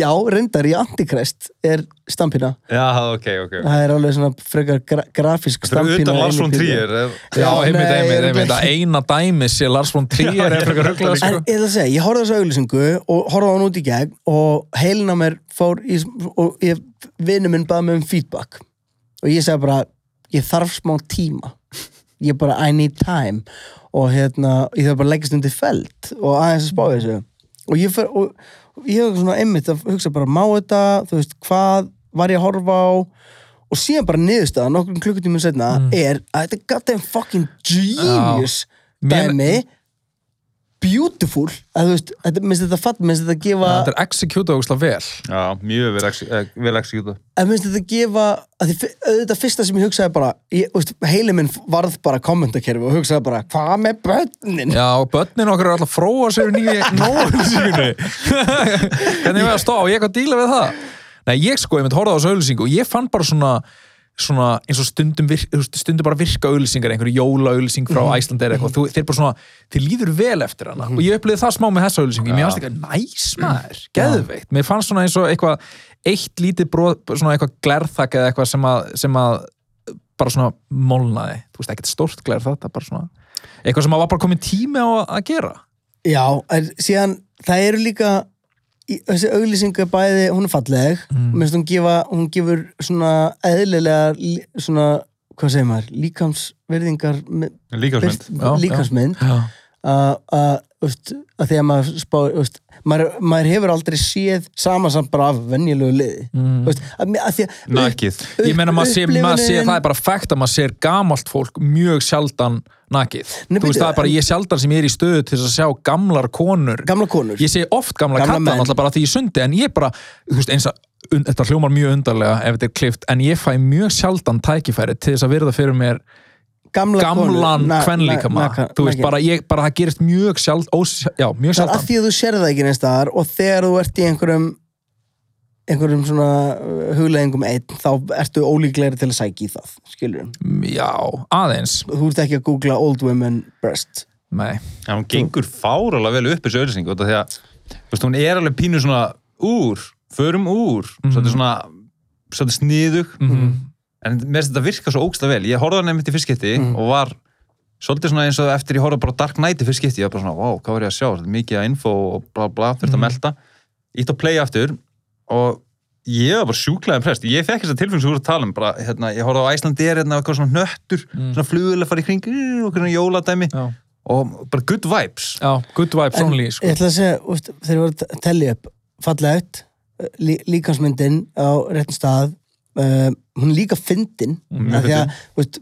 Speaker 1: Já, reyndar í Antikrest er stampina
Speaker 3: Já, ok, ok
Speaker 1: það er alveg svona frekar gra grafísk
Speaker 3: Fyrir
Speaker 1: stampina inn
Speaker 3: utan
Speaker 1: í
Speaker 3: Lars von
Speaker 1: bíómynd.
Speaker 3: Trier
Speaker 1: Já,
Speaker 2: Já, einmitt,
Speaker 1: nei,
Speaker 2: einmitt,
Speaker 1: örugglega
Speaker 2: einmitt, að
Speaker 1: ekki.
Speaker 2: eina dæmi sé Lars von Trier er frekar rugglega,
Speaker 1: En
Speaker 2: sko.
Speaker 1: ég ætla að segja, ég horfði á þessu auglýsingu og horfði á hann út í gegn og heilin á mér fór í, og ég, vinur minn baði mig um feedback og ég segi bara, ég þarf smá tíma ég bara, I need time og hérna, ég þarf bara að leggast undir feld og aðeins að spá í þessu og ég fer, og ég hef svona einmitt að hugsa bara, má þetta, þú veist, hvað var ég að horfa á og síðan bara niðurstaða, nokkrum klukkutímum setna
Speaker 2: Mm.
Speaker 1: er að þetta er goddamn fucking genius
Speaker 2: Mér-
Speaker 1: dæmi beautiful að þú veist, þetta, minnst þetta fatt, minnst þetta gefa
Speaker 2: Þetta er executað ógislega vel.
Speaker 3: Já, mjög vel ex- eh, vel executa
Speaker 1: að minnst þetta gefa að því, auðvitað fyrsta sem ég hugsaði bara ég, þú veist, heili minn varð bara kommentakerfi og hugsaði bara, hvað með börnin
Speaker 2: Já, börnin okkar eru alltaf að fróa sér nýja nógulsingunni Hvernig er við að stá, ég ekki að díla við það Nei, ég sko, ég mynd horfði á þessu auðlýsingu og ég fann bara svona, svona eins og stundum, virk, þú veist, stundum bara virka auðlýsingar einhverju jólaauðlýsing frá Æsland er eitthvað þú, þeir bara svona, þeir líður vel eftir hana og ég upplýði það smá með þessa auðlýsingu mér fannst eitthvað næs maður, geðveikt mér fannst svona eins og eitthvað eitt lítið brot, svona eitthvað glerþak eða eitthvað sem að, sem að bara svona molnaði, þú veist, ekkert stórt glær þetta, bara svona eitthvað sem að var bara komin tími á að gera
Speaker 1: já, en síðan það eru líka í, þessi auglýsingu bæði, hún er falleg mm. minnst hún gefa, hún gefur svona eðlilegar lí- svona hvað segir maður, líkamsverðingar með-
Speaker 3: Líkafsmynd.
Speaker 1: best-
Speaker 2: Já, já.
Speaker 1: líkamsmynd
Speaker 2: já,
Speaker 1: að að, veist, að því að maður spá veist, maður, maður hefur aldrei séð samansamt bara af venjulegu liði
Speaker 2: Mm.
Speaker 1: veist, að, mi- að því að
Speaker 3: Nakið.
Speaker 2: ég meina maður sé, maður sé,
Speaker 1: upplifunin-
Speaker 2: það er bara fakt að maður sér gamalt fólk mjög sjaldan nakið,
Speaker 1: Nei,
Speaker 2: þú veist
Speaker 1: bíddu,
Speaker 2: það er bara ég sjaldan sem ég er í stöðu til þess að sjá gamlar konur
Speaker 1: gamla konur
Speaker 2: ég sé oft
Speaker 1: Gamla
Speaker 2: gamla, gamla kalla
Speaker 1: menn.
Speaker 2: náttúrulega bara því ég sundi en ég bara, þú veist eins að un, þetta hljómar mjög undarlega ef þetta er klift en ég fæ mjög sjaldan tækifæri til þess að verða fyrir mér
Speaker 1: gamla
Speaker 2: gamlan kvenlíkama þú veist bara, ég, bara það gerist mjög sjald ós, já,
Speaker 1: það er að
Speaker 2: mjög sjaldan
Speaker 1: því að þú sér það ekki neins staðar og þegar þú ert í einhverjum einhverjum svona uh, hugleiðingum einn þá ertu ólíklegri til að sækja í það skilur
Speaker 2: já, aðeins,
Speaker 1: þú ert ekki að googla old women breast
Speaker 2: nei
Speaker 3: Já, hún gengur fáralega vel upp þessu auðlýsingu þetta því að, þú veist, hún er alveg pínu svona úr, förum úr mm
Speaker 2: Mhm.
Speaker 3: svolítið svona, svolítið sniðug
Speaker 2: Mhm.
Speaker 3: en mér finnst þetta virka svo ógsta vel ég horfði hann einmitt í fyrstskipti
Speaker 2: Mhm.
Speaker 3: og var svolítið svona eins og eftir ég horfði bara á Dark Knight í fyrstskipti, ég var bara svona, wow, hvað var ég að sjá Svolítið mikið að info og bla bla,
Speaker 2: Mhm.
Speaker 3: þurft að melda ítt að playa aftur og ég var bara sjúklaðin prest ég fekk þess að tilfengs úr að tala um bara, hérna, ég horfði á Æslandi er hérna, eitthvað svona nöttur
Speaker 2: Mm.
Speaker 3: svona flugulega farið í kring, uh, og hvernig jóladæmi
Speaker 2: já,
Speaker 3: og bara good vibes
Speaker 2: já, good vibes
Speaker 1: En
Speaker 2: only
Speaker 1: ég
Speaker 2: sko.
Speaker 1: ætla að segja, úst, þegar ég var að tellja upp fallegt, eh, lí, líkansmyndin á réttum stað uh, hún er líka fyndin
Speaker 2: Mm,
Speaker 1: af því að, úst,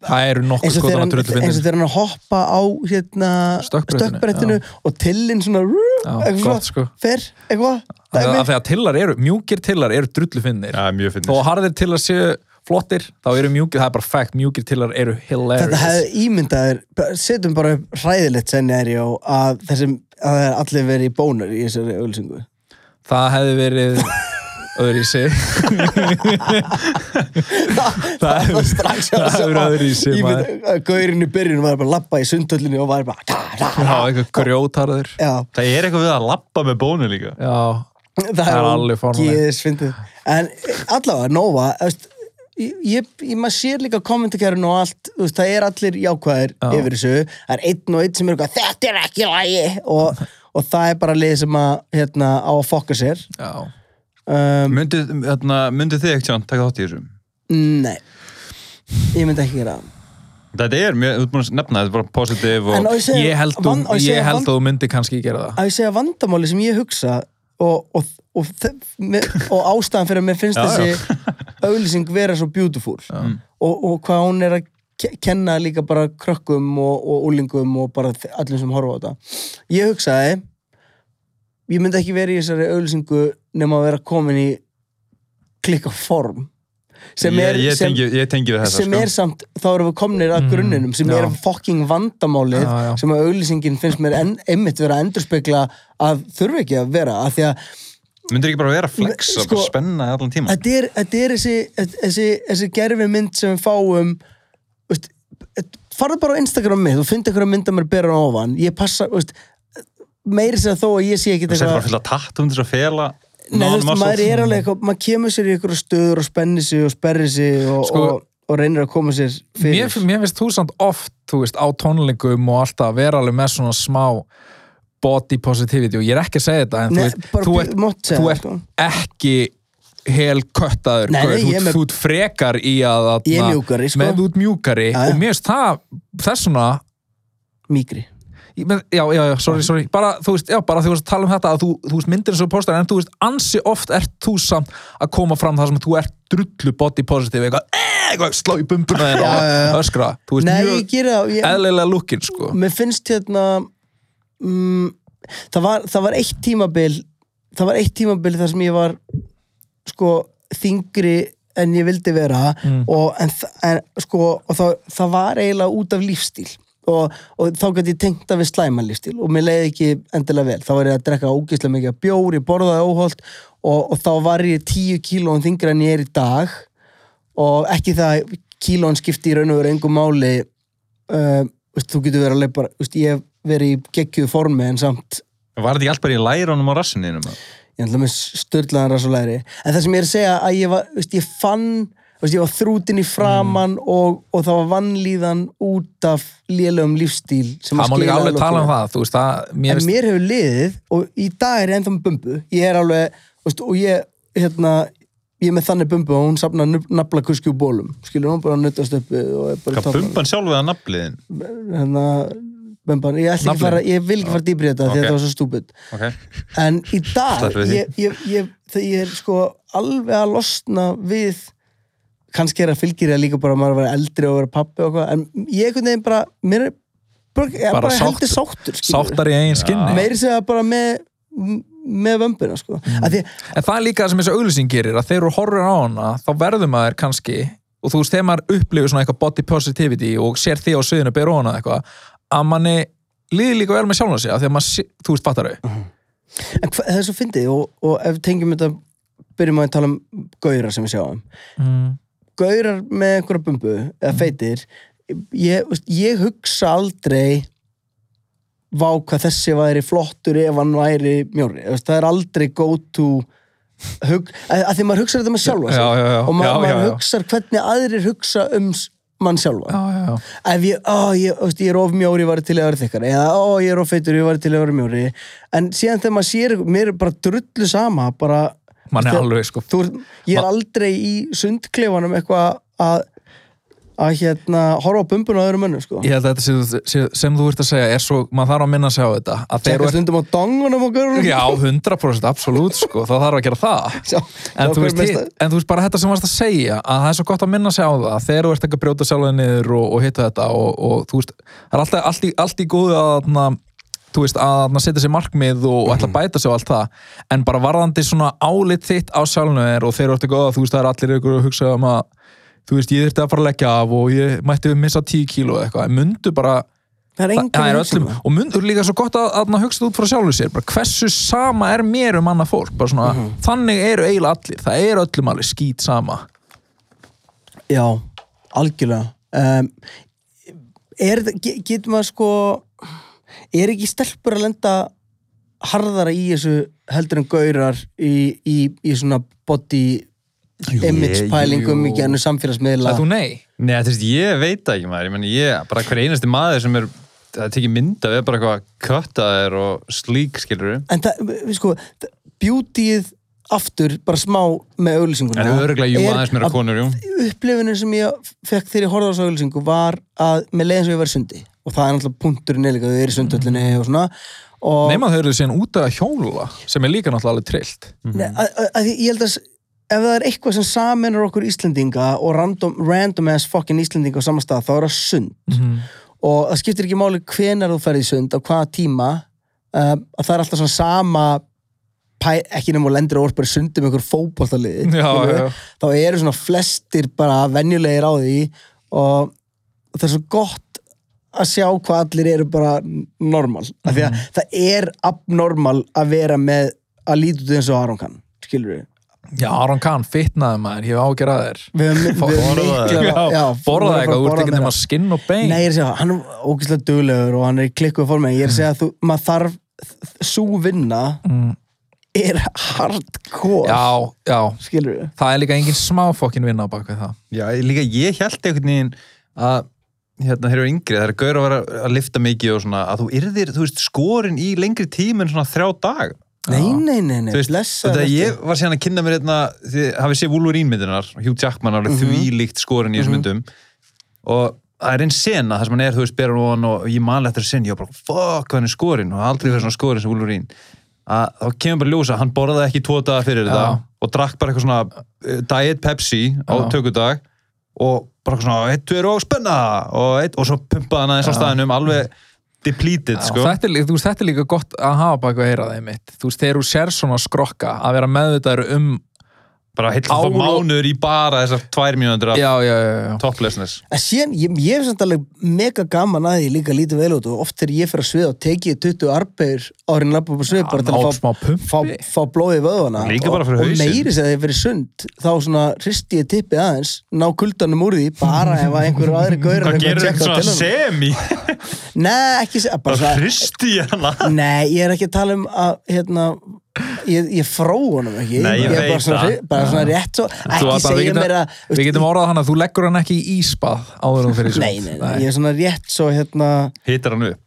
Speaker 2: það eru nokkuð
Speaker 1: eins og
Speaker 2: sko
Speaker 1: þegar
Speaker 2: þannig
Speaker 1: hann
Speaker 2: drullu
Speaker 1: eins og þegar hann er að hoppa á hérna,
Speaker 2: Stökkbrettinu,
Speaker 1: stökkbrettinu og tillinn svona
Speaker 2: já,
Speaker 1: eitthvað svona,
Speaker 2: gott sko
Speaker 1: fer, eitthvað
Speaker 2: Af því að- af
Speaker 1: dæmi.
Speaker 2: því að tillar eru, mjúkir tillar eru drullu finnir
Speaker 3: Já, mjög finnir.
Speaker 2: þó að harðir tillar séu flottir þá eru mjúkir, það er bara fact, mjúkir tillar eru hilarious
Speaker 1: þetta hefði ímyndaður setjum bara upp hræðilegt sennjæri og að þessum að það er allir verið í bónur í þessari ölsingu
Speaker 2: það hefði verið öðru í sig
Speaker 1: það var strax
Speaker 2: það hefur öðru í sig maður.
Speaker 1: Gaurin í byrjun var bara að lappa í sundhöllinu og var bara da, da,
Speaker 2: já,
Speaker 1: da.
Speaker 2: eitthvað grjótarður
Speaker 1: Já,
Speaker 3: Það er eitthvað við að lappa með bónu líka.
Speaker 2: já,
Speaker 1: það
Speaker 2: er alveg fáránlegt.
Speaker 1: fórnum En allavega, Nova veist, ég, ég, ég- maður sér líka kommentarkerun og allt, þú veist, það er allir jákvæðir
Speaker 2: Já.
Speaker 1: yfir þessu, það er einn og einn sem er eitthvað, þetta er ekki lægi og, og það er bara lið sem að hérna, á að fokka sér
Speaker 2: já
Speaker 1: um,
Speaker 3: Mynduð hérna, myndu þið ekkert sjón, taka þátt í þessu.
Speaker 1: Nei Ég myndi ekki gera það
Speaker 3: Þetta er, mjög, þú ert búin að nefna, þetta er bara positiv og...
Speaker 1: En á ég segja-
Speaker 2: ég held þú,
Speaker 1: van- á segja
Speaker 2: ég
Speaker 1: van-
Speaker 2: held þú myndi kannski gera það
Speaker 1: að ég segja vandamáli sem ég hugsa og, og, og, þe- me- og ástæðan fyrir að mér finnst
Speaker 3: Já,
Speaker 1: þessi auðlýsing vera svo beautiful og, og hvað hún er að ke- kenna líka bara krökkum og, og úlingum og bara þ- allir sem horfa á þetta ég hugsaði ég myndi ekki vera í þessari auðlýsingu nema að vera komin í klikka form sem er,
Speaker 3: ég, ég,
Speaker 1: sem,
Speaker 3: tengi, ég tengi við sko. þessa,
Speaker 1: sem er samt, þá erum við komnir að
Speaker 2: Mm,
Speaker 1: grunninum sem
Speaker 2: já.
Speaker 1: er fucking vandamálið
Speaker 2: Já, já.
Speaker 1: sem að auglýsingin finnst mér en, einmitt vera að endurspegla að þurfi ekki að vera af því að
Speaker 3: sko. Myndur ekki bara vera að flexa,
Speaker 1: Sko-
Speaker 3: bara spenna allan tíma.
Speaker 1: þetta er, þetta er þessi, þessi, þessi gerfi mynd sem við fáum veist, farðu bara á Instagram mitt og fyndu einhverja mynd að mér bera ofan ég passa, veist, meiri sér þó að ég sé ekki
Speaker 3: Þú setur bara fullt að tatt um þess að fela.
Speaker 1: Nei, þú veist,
Speaker 3: non-muscle.
Speaker 1: maður er alveg eitthvað, maður kemur sér í einhverju stöður og spennir sig og sperrir sig og,
Speaker 2: Sko-
Speaker 1: og, og reynir að koma sér fyrir
Speaker 2: mér, mér finnst þú samt oft þú veist, á tónleikum og alltaf vera alveg með svona smá body positivity og ég er ekki að segja þetta
Speaker 1: Nei,
Speaker 2: en þú, veist,
Speaker 1: bara
Speaker 2: þú
Speaker 1: bí-
Speaker 2: ert
Speaker 1: mátt segja
Speaker 2: þú
Speaker 1: það,
Speaker 2: ert
Speaker 1: sko.
Speaker 2: ekki hel köttaður
Speaker 1: Nei, nei,
Speaker 2: gaur. þú,
Speaker 1: ég er
Speaker 2: ert-
Speaker 1: með-
Speaker 2: þú ert frekar í að að-
Speaker 1: Ég er mjúkari, sko.
Speaker 2: með þú ert mjúkari
Speaker 1: Já, já.
Speaker 2: og mér finnst það þess svona
Speaker 1: mýgri
Speaker 2: Ég Men, já, já, já, sorry, sorry bara, þú veist, já, bara þú veist að tala um þetta að þú, þú veist myndir eins og postar en þú veist, ansi oft ert þú samt að koma fram það sem þú ert drullu body positive eitthvað, eh, eitthvað slá í bumbuna þér
Speaker 1: Já, já,
Speaker 2: og
Speaker 1: já.
Speaker 2: öskra þú veist,
Speaker 1: Nei, ég
Speaker 2: mjög
Speaker 1: gera það ég,
Speaker 2: eðlilega lukkin sko.
Speaker 1: Mér finnst hérna mm, það, var, það var eitt tímabil það var eitt tímabil þar sem ég var sko þingri en ég vildi vera og, en, þ- en, sko, og það, það var eiginlega út af lífstíl og, og þá gæti ég tengt af við slæma lífstíl og mér leiði ekki endilega vel þá var ég að drekka ógeðslega mikið af bjór ég borðaði óholt og, og þá var ég tíu kílóin þingri en ég er í dag og ekki það að kílón skipti í raun og veru engum máli uh, veist, þú getur verið alveg bara veist, ég hef verið í geggjuðu formi en samt
Speaker 3: Var þetta ekki allt bara í lærunum og rassininu?
Speaker 1: ég ætla með störlaðan rassulegri en það sem ég er að segja að ég var veist, ég fann, veist, ég var þrútin í
Speaker 2: Mm.
Speaker 1: framan og, og það var vannlíðan út af lélegum lífstíl sem
Speaker 2: það má líka
Speaker 1: skilaði
Speaker 2: alveg tala um
Speaker 1: lokinu.
Speaker 2: það þú veist, það, mér
Speaker 1: en
Speaker 2: veist
Speaker 1: mér hefur liðið og í dag er ég ennþá með bumbu ég er alveg veist, og ég hérna ég er með þannig bumbu og hún safnar nafla kuski úr bólum skilur hún bara nutast uppi og er bara í
Speaker 3: Hvað,
Speaker 1: toppunum.
Speaker 3: bumban sjálf eða nafliðin?
Speaker 1: hérna bumban, ég, ætla ekki
Speaker 2: Naflinn?
Speaker 1: að fara, ég vil ekki fara dýbri þetta því
Speaker 3: Ok.
Speaker 1: að þetta var svo stúbid
Speaker 3: Ok.
Speaker 1: en í dag
Speaker 3: Sleppum við því.
Speaker 1: ég, ég, ég, þegar ég er sko alveg að losna við kannski er að fylgir ég líka bara að maður að vera eldri og vera pappi og eitthvað, en ég einhvern veginn bara mér er bara, ég er
Speaker 2: Bara
Speaker 1: bara
Speaker 2: sátt-
Speaker 1: heldur sáttur skilurðu.
Speaker 2: sáttar í eigin skinni
Speaker 1: meiri segja bara með m- með vömbina sko mm. því,
Speaker 2: En það er líka það sem þessi auglýsing gerir að þegar þú horfir á hana þá verður maður kannski og þú veist þegar maður upplifir svona eitthvað body positivity og sér þig á sviðinu bera ofan á hana eitthvað að manni líður líka vel með sjálfna sig af því að maður, sé- þú veist, fattar þau
Speaker 1: en hva, það er svo fyndið og, og ef við tengjum þetta byrjum að tala um gauðra sem við sjáum
Speaker 2: mm.
Speaker 1: gaurar með einhverja bumbu eða
Speaker 2: Mhm.
Speaker 1: feitir ég, veist, ég hugsa aldrei vá hvað þessi væri flottur ef hann væri mjóri Þú veist, það er aldrei go to hug, að, að því maður hugsa þetta með sjálfa sig.
Speaker 2: Já, já, já.
Speaker 1: og maður,
Speaker 2: Já, já,
Speaker 1: maður
Speaker 2: já.
Speaker 1: hugsar hvernig aðrir hugsa um s- mann sjálfa
Speaker 2: Já, já, já
Speaker 1: ef ég, ó, ég, ó, ég er of mjóri ég var til að vera þykkari eða ó, ég er of feitur ég var til að vera mjóri en síðan þegar maður sér ykkur- mér er bara drullu sama bara,
Speaker 2: Mann er
Speaker 1: Þetta-
Speaker 2: alveg, sko
Speaker 1: þú, ert- ég er
Speaker 2: Ma-
Speaker 1: aldrei í sundklefanum eitthvað að að hérna horfa á bumbun á öðrum mönnum sko
Speaker 2: Ég held að þetta sem, sem, sem þú ert að segja er svo maður þarf að minna sig á þetta að þeir
Speaker 1: Tekka stundum á dongunum og görunum
Speaker 2: Já, 100% absolutt sko, þá þarf að gera það
Speaker 1: Sjá-
Speaker 2: en,
Speaker 1: sjá
Speaker 2: þú
Speaker 1: hver
Speaker 2: veist,
Speaker 1: mesta-
Speaker 2: hitt- en þú veist bara þetta sem varst að segja að það er svo gott að minna sig á það þegar þú ert ekki að brjóta sjálfið niður og, og hitta þetta og, og þú veist, það er alltaf allt í, allt í góðu að þarna þú veist, að þarna setja sér markmið og, og
Speaker 1: Mhm.
Speaker 2: ætla að bæta sig og allt það, en bara varðandi svona álit þitt á sjálfinu þér og þegar þú ert ekki góða, þú veist, það er allir ykkur að hugsa um að þú veist, ég þurfti að fara að leggja af og ég mætti missa 10 kíló eða eitthvað, en mundu bara
Speaker 1: það er
Speaker 2: Þa-
Speaker 1: engin
Speaker 2: það er
Speaker 1: að hugsa um
Speaker 2: öllum, og mundur líka svo gott að, að hugsa þetta út frá sjálfu sér, bara hversu sama er mér um annað fólk, bara svona
Speaker 1: Mhm.
Speaker 2: þannig eru eiginlega allir, það eru öllum alveg skýt sama
Speaker 1: það. já, algjörlega um, er, þetta- ge- getur maður sko er ekki stelpur að lenda harðara í þessu heldur en gaurar í, í, í svona body image pælingum
Speaker 3: jú.
Speaker 1: í gennu samfélagsmiðla
Speaker 2: Það þú nei,
Speaker 3: Nei, þú veist, ég veit það ekki maður, ég meni ég, bara hver einasti maður sem er, það tekið mynda við bara eitthvað köttaðir og slík, skilur við.
Speaker 1: en það, við- við sko það- beautyið aftur bara smá með auðlýsinguna
Speaker 3: En örglega, jú, aðeins meira konur, jú.
Speaker 1: upplifinu sem ég fekk þegar ég horfði á þessu auðlýsingu var að með leiðin sem ég var í sundi og það er náttúrulega punkturinn eða þau eru í sundöllinni og svona og
Speaker 2: nema þau eru síðan út að hjóla sem er líka náttúrulega alveg trillt
Speaker 1: Nei, að, að, að, ég held að s- ef það er eitthvað sem saminur okkur Íslendinga og random, random ass fucking Íslendinga á sama stað þá er það sund
Speaker 2: Mhm.
Speaker 1: og það skiptir ekki máli hvenar þú ferði í sund á hvaða tíma um, að það er alltaf svona sama pæ, ekki nema og lendir og orpar sund um einhver fótboltaliði
Speaker 2: Já,
Speaker 1: skilurðu.
Speaker 2: já, já.
Speaker 1: þá eru svona flestir bara venjulegir á því og það er svo gott að sjá hvað allir eru bara normal, af því
Speaker 2: Mhm.
Speaker 1: að það er abnormal að vera með að líta út eins og Aron kann, skilur við
Speaker 2: Já, Aron Kahn, fitnaði maður, ég hef ágjör að þér
Speaker 1: við höfum við höfum
Speaker 3: Borðaði.
Speaker 1: miklar- já,
Speaker 2: borðaði eitthvað, þú ert
Speaker 1: borðaði
Speaker 2: ekki nema
Speaker 1: meira.
Speaker 2: skinn og bein
Speaker 1: Nei, ég er að segja, hann er ógeðslega duglegur og hann er í klikkuð formi, en ég er að segja að þú, maður þarf svo vinna er hardcore
Speaker 2: Mm. Já, já,
Speaker 1: skilur við
Speaker 2: það er líka engin smá fokkin vinna á bakvið það
Speaker 3: Já, ég- líka ég held einhvern veginn að hérna þeir eru yngri, það er gaur að vera að lifta mikið og svona, að þú yrðir, þú veist, skorinn í lengri tíma en svona þrjá dag
Speaker 1: Nei, nei, nei, nei,
Speaker 3: þú veist,
Speaker 1: blessa
Speaker 3: þetta ég var síðan að kynna mér hérna, þið hafið séð Wolverine myndunar Hugh Jackman
Speaker 2: Mhm.
Speaker 3: alveg því líkt skorinn í þessum myndum og það er einn sena, það sem hann er, þú veist, berur ofan og ég man eftir að sena, ég var bara, fuck, hann er skorinn og aldrei verið svona skorinn sem Wolverine að þá kemur bara ljósa, hann borðaði ekki tvo daga fyrir þetta og drakk bara eitthvað svona eh, Diet Pepsi á
Speaker 2: Já.
Speaker 3: tökudag og bara eitthvað svona, eitt, tveir og spenna og, eitt, og svo pumpaði hann aðeins á staðinum alveg depleted,
Speaker 2: Já,
Speaker 3: sko
Speaker 2: þetta, er, lí- þú veist, þetta er líka gott að hafa baka að heyra það einmitt þú veist, þegar þú sér svona skrokka að vera meðvitaður um
Speaker 3: bara heill
Speaker 2: Ár
Speaker 3: þá
Speaker 2: og-
Speaker 3: mánuður í bara þessar tvær mínútur af
Speaker 2: já, já, já, já.
Speaker 3: toplessness
Speaker 1: En síðan, ég, ég hef samt alveg mega gaman að því líka lítið vel út og oft þegar ég fer að sviða og teki ég 20 arbeir árin lappa upp á svið bara til
Speaker 2: ná
Speaker 1: að
Speaker 2: smá
Speaker 1: fá,
Speaker 2: pumpi.
Speaker 1: fá, fá blóðið vöðuna
Speaker 3: Líka
Speaker 1: og,
Speaker 3: bara fyrir
Speaker 1: og
Speaker 3: hausinn.
Speaker 1: meiri sem þegar ég fyrir sund þá svona hristi ég tippið aðeins ná kuldanum úr því bara ef að einhver aðri gaur
Speaker 3: Hvað gerir þetta svona semi?
Speaker 1: Nei, ekki se- bara
Speaker 3: Bara
Speaker 1: svona
Speaker 3: hristi ég hana
Speaker 1: Nei, ég er ekki að tala um að hérna, ég, ég fró honum ekki
Speaker 3: Nei, ég
Speaker 1: er bara
Speaker 3: veit
Speaker 1: svona,
Speaker 3: það.
Speaker 1: hri- bara svona rétt svo
Speaker 2: Þú
Speaker 1: ekki
Speaker 2: allan- við
Speaker 1: segja
Speaker 2: getum-
Speaker 1: mér að
Speaker 2: við getum orðað hann að þú leggur hann ekki í ísbað áður um fyrir sund.
Speaker 1: nei, nei, nei, ég er svona rétt svo hérna
Speaker 3: Hittar hann upp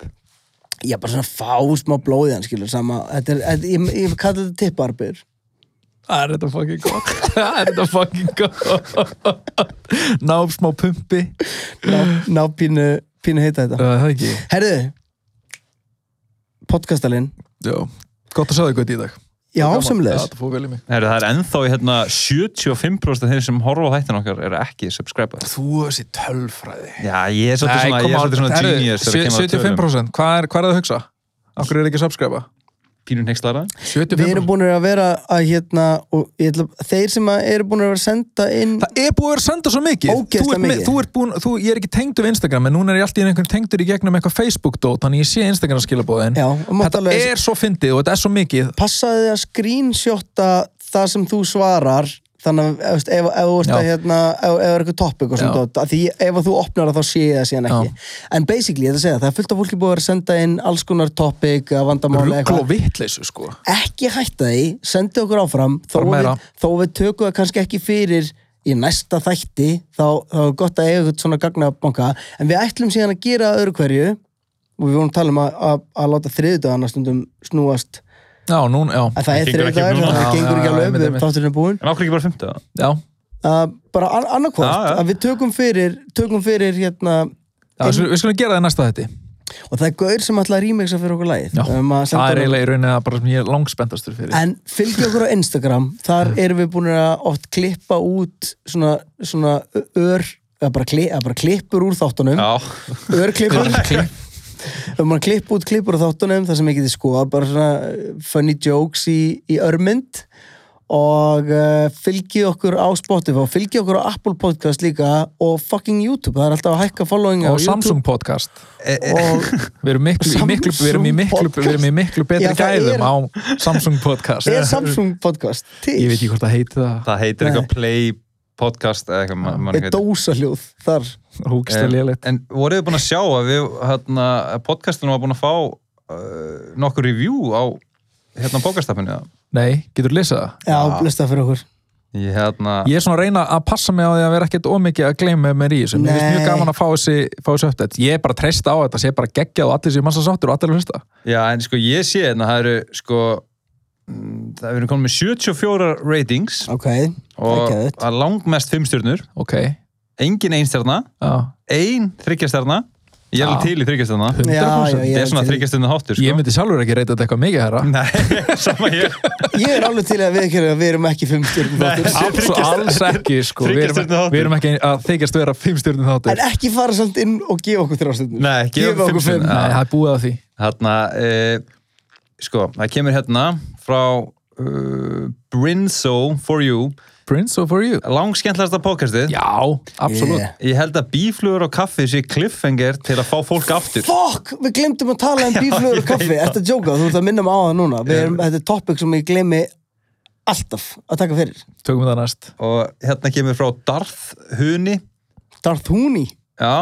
Speaker 1: Já, bara svona fá smá blóðið hann, skilur, sama, þetta er, þetta, ég, ég kalla þetta tipparbyrð.
Speaker 2: Það er þetta fucking gott Það er þetta fucking gott Ná upp smá pumpi
Speaker 1: ná, ná pínu, pínu heita þetta
Speaker 2: Það er ekki
Speaker 1: Herðu Podcastalinn
Speaker 2: Já Gott að sjá þig gott í dag
Speaker 1: Já,
Speaker 2: Gaman. Já,
Speaker 1: samlega
Speaker 2: Þetta fór vel í mig
Speaker 3: Heru, það er ennþá í hérna 75% af þeir sem horfa á þættin okkar eru ekki subscriber.
Speaker 2: Þú þessi tölfræði
Speaker 3: Já, ég er svolítið svona, ég er svolítið svona genius þegar kemur að tölum.
Speaker 2: 75% Hvað er, hvað er það að hugsa? Akkur er ekki að subscriba?
Speaker 3: Pínur neikslara.
Speaker 1: Við
Speaker 2: 75%
Speaker 1: erum búin að vera að hérna og ég ætla, þeir sem að eru búin að vera að senda inn
Speaker 2: Það er búið að vera að senda svo mikið,
Speaker 1: Ógeðslega
Speaker 2: þú ert, með-
Speaker 1: mikið.
Speaker 2: Þú ert búin, þú, Ég er ekki tengdur við Instagram En núna er ég alltaf einhvern tengdur í gegnum eitthvað Facebook-dót Þannig ég sé Instagram skilabóðin
Speaker 1: Já, og mátt
Speaker 2: Þetta
Speaker 1: alveg-
Speaker 2: er svo fyndið og þetta er svo mikið
Speaker 1: passaði þið að screenshotta það sem þú svarar þannig að ef, ef, ef, þú ert að,
Speaker 2: Já.
Speaker 1: hérna, ef, ef er eitthvað topic og
Speaker 2: Já.
Speaker 1: svona dót, af því ef að þú opnar það þá sé ég það síðan ekki en basically, ég ætla að segja, það er fullt af fólki búið að vera að senda inn alls konar topic, eða vandamál eða
Speaker 2: Rugl
Speaker 1: eitthvað.
Speaker 2: og vitleysu sko
Speaker 1: ekki hætta því, sendi okkur áfram þó
Speaker 2: Bara
Speaker 1: við,
Speaker 2: meira.
Speaker 1: þó við tökum það kannski ekki fyrir í næsta þætti þá, þá er gott að eiga eitthvað svona gagnabanka en við ætlum síðan að gera öðru hverju og við vorum að tala um að, að, að láta þriðudagana stundum snúast
Speaker 2: Já, núna, já
Speaker 1: að það
Speaker 3: Það
Speaker 1: er
Speaker 3: gengur ekki upp
Speaker 1: þriðudagur,
Speaker 3: núna.
Speaker 1: það
Speaker 2: Já,
Speaker 1: gengur ekki
Speaker 2: já,
Speaker 1: alveg
Speaker 2: einmitt,
Speaker 1: upp
Speaker 2: einmitt.
Speaker 1: við þátturinn er búinn
Speaker 3: En okkur ekki bara 50?
Speaker 2: Já,
Speaker 1: að bara an annarkvort
Speaker 3: Já, já.
Speaker 1: að við tökum fyrir, tökum fyrir hérna,
Speaker 2: já við skulum- við skulum gera það í næsta þetta
Speaker 1: og það er gaur sem ætla að rýmiksa fyrir okkur lagið
Speaker 2: Já,
Speaker 1: Við erum að senda
Speaker 2: það er
Speaker 1: honum-
Speaker 2: eiginlega í rauninni að bara sem ég er langspenntastur fyrir
Speaker 1: En fylgja okkur á Instagram Þar erum við búin að oft klippa út Svona, svona ör eða bara, kli, eða bara klippur úr þáttunum
Speaker 3: Já.
Speaker 1: Örklippur
Speaker 2: Örklipp.
Speaker 1: Við erum að klippa út klippur úr þáttunum þar sem ég geti skoða Bara svona eh, funny jokes í, í örmynd Og uh, fylgi okkur á Spotify og fylgi okkur á Apple Podcast líka og fucking YouTube, það er alltaf að hækka following á
Speaker 2: Og
Speaker 1: YouTube
Speaker 2: Samsung podcast
Speaker 3: E-
Speaker 1: og
Speaker 2: Við erum, miklu, í miklu, við, erum í miklu,
Speaker 1: Samsung podcast?
Speaker 2: við erum í miklu betri
Speaker 1: Já, það er-
Speaker 2: gæðum á Samsung podcast
Speaker 1: er Samsung Podcast til,
Speaker 2: Ég veit ekki hvort það heiti það
Speaker 3: Það heitir
Speaker 1: Nei.
Speaker 3: eitthvað play podcast eða eitthvað mann
Speaker 1: er dósaljóð þar
Speaker 2: Húkislega léleitt
Speaker 3: En voruð þið búin að sjá að við, hérna, podcastinu var búin að fá uh, nokkur review á hérna podcastafinu það?
Speaker 2: Nei, getur lesað það?
Speaker 1: Já, blösta fyrir okkur
Speaker 3: Ég hérna,
Speaker 2: Ég er svona að reyna að passa mig á því að vera ekkert ómikið að gleyma mér í þessu Mér finnst
Speaker 1: Nei.
Speaker 2: mjög gaman að fá þessi, fá þessi uppdætt Ég er bara að treysta á þetta, sé bara geggjað og allir séu massa sáttur og allir að hlusta
Speaker 3: já en sko ég sé hérna, það eru sko, mm, það eru komin með 74 ratings
Speaker 1: Ok,
Speaker 3: og
Speaker 1: geðvægt.
Speaker 3: að langmest 5 stjörnur,
Speaker 2: Ok,
Speaker 3: engin einstjarna,
Speaker 2: já
Speaker 3: ein þryggjastjarna, ég er
Speaker 2: Já.
Speaker 3: alveg til í þryggjastjarna.
Speaker 2: 100%.
Speaker 1: Já, já, ég
Speaker 3: Þetta
Speaker 1: er
Speaker 3: er svona
Speaker 1: til í-
Speaker 3: þryggjastjarna háttur
Speaker 2: Ég
Speaker 3: sko.
Speaker 2: myndi sjálfur ekki reyta þetta eitthvað mikið herra
Speaker 3: Nei, sama ég.
Speaker 1: Ég er alveg til að viðkjöra að við erum ekki fimm stjörnum þáttur
Speaker 2: alls, alls ekki sko. við,
Speaker 3: Þriggja stjörnu
Speaker 2: erum,
Speaker 3: þáttur.
Speaker 2: við erum ekki að þykjast vera fimm stjórnum
Speaker 1: En
Speaker 2: þáttur
Speaker 1: ekki fara samt inn og gefa okkur þrjá stjörnum
Speaker 3: Nei, ekki
Speaker 1: Gefa okkur fimm.
Speaker 2: Nei, það er búið að því
Speaker 3: Þarna, e, sko, það kemur hérna frá uh, Brinso for you,
Speaker 2: Prince of for you
Speaker 3: langskemmtlegasta podcastið.
Speaker 2: Já, absolutt
Speaker 1: Yeah.
Speaker 3: Ég held að bíflugur og kaffi sé cliffhanger til að fá fólk aftur.
Speaker 1: Fuck, við glemdum að tala um bíflugur og kaffi Þetta er jóka, þú ert að minna mig á það núna Við erum, Þetta er topic sem ég glemi alltaf að taka fyrir
Speaker 2: Tökum við það næst
Speaker 3: Og hérna kemur frá Darth Huni,
Speaker 1: Darth Huni
Speaker 3: já,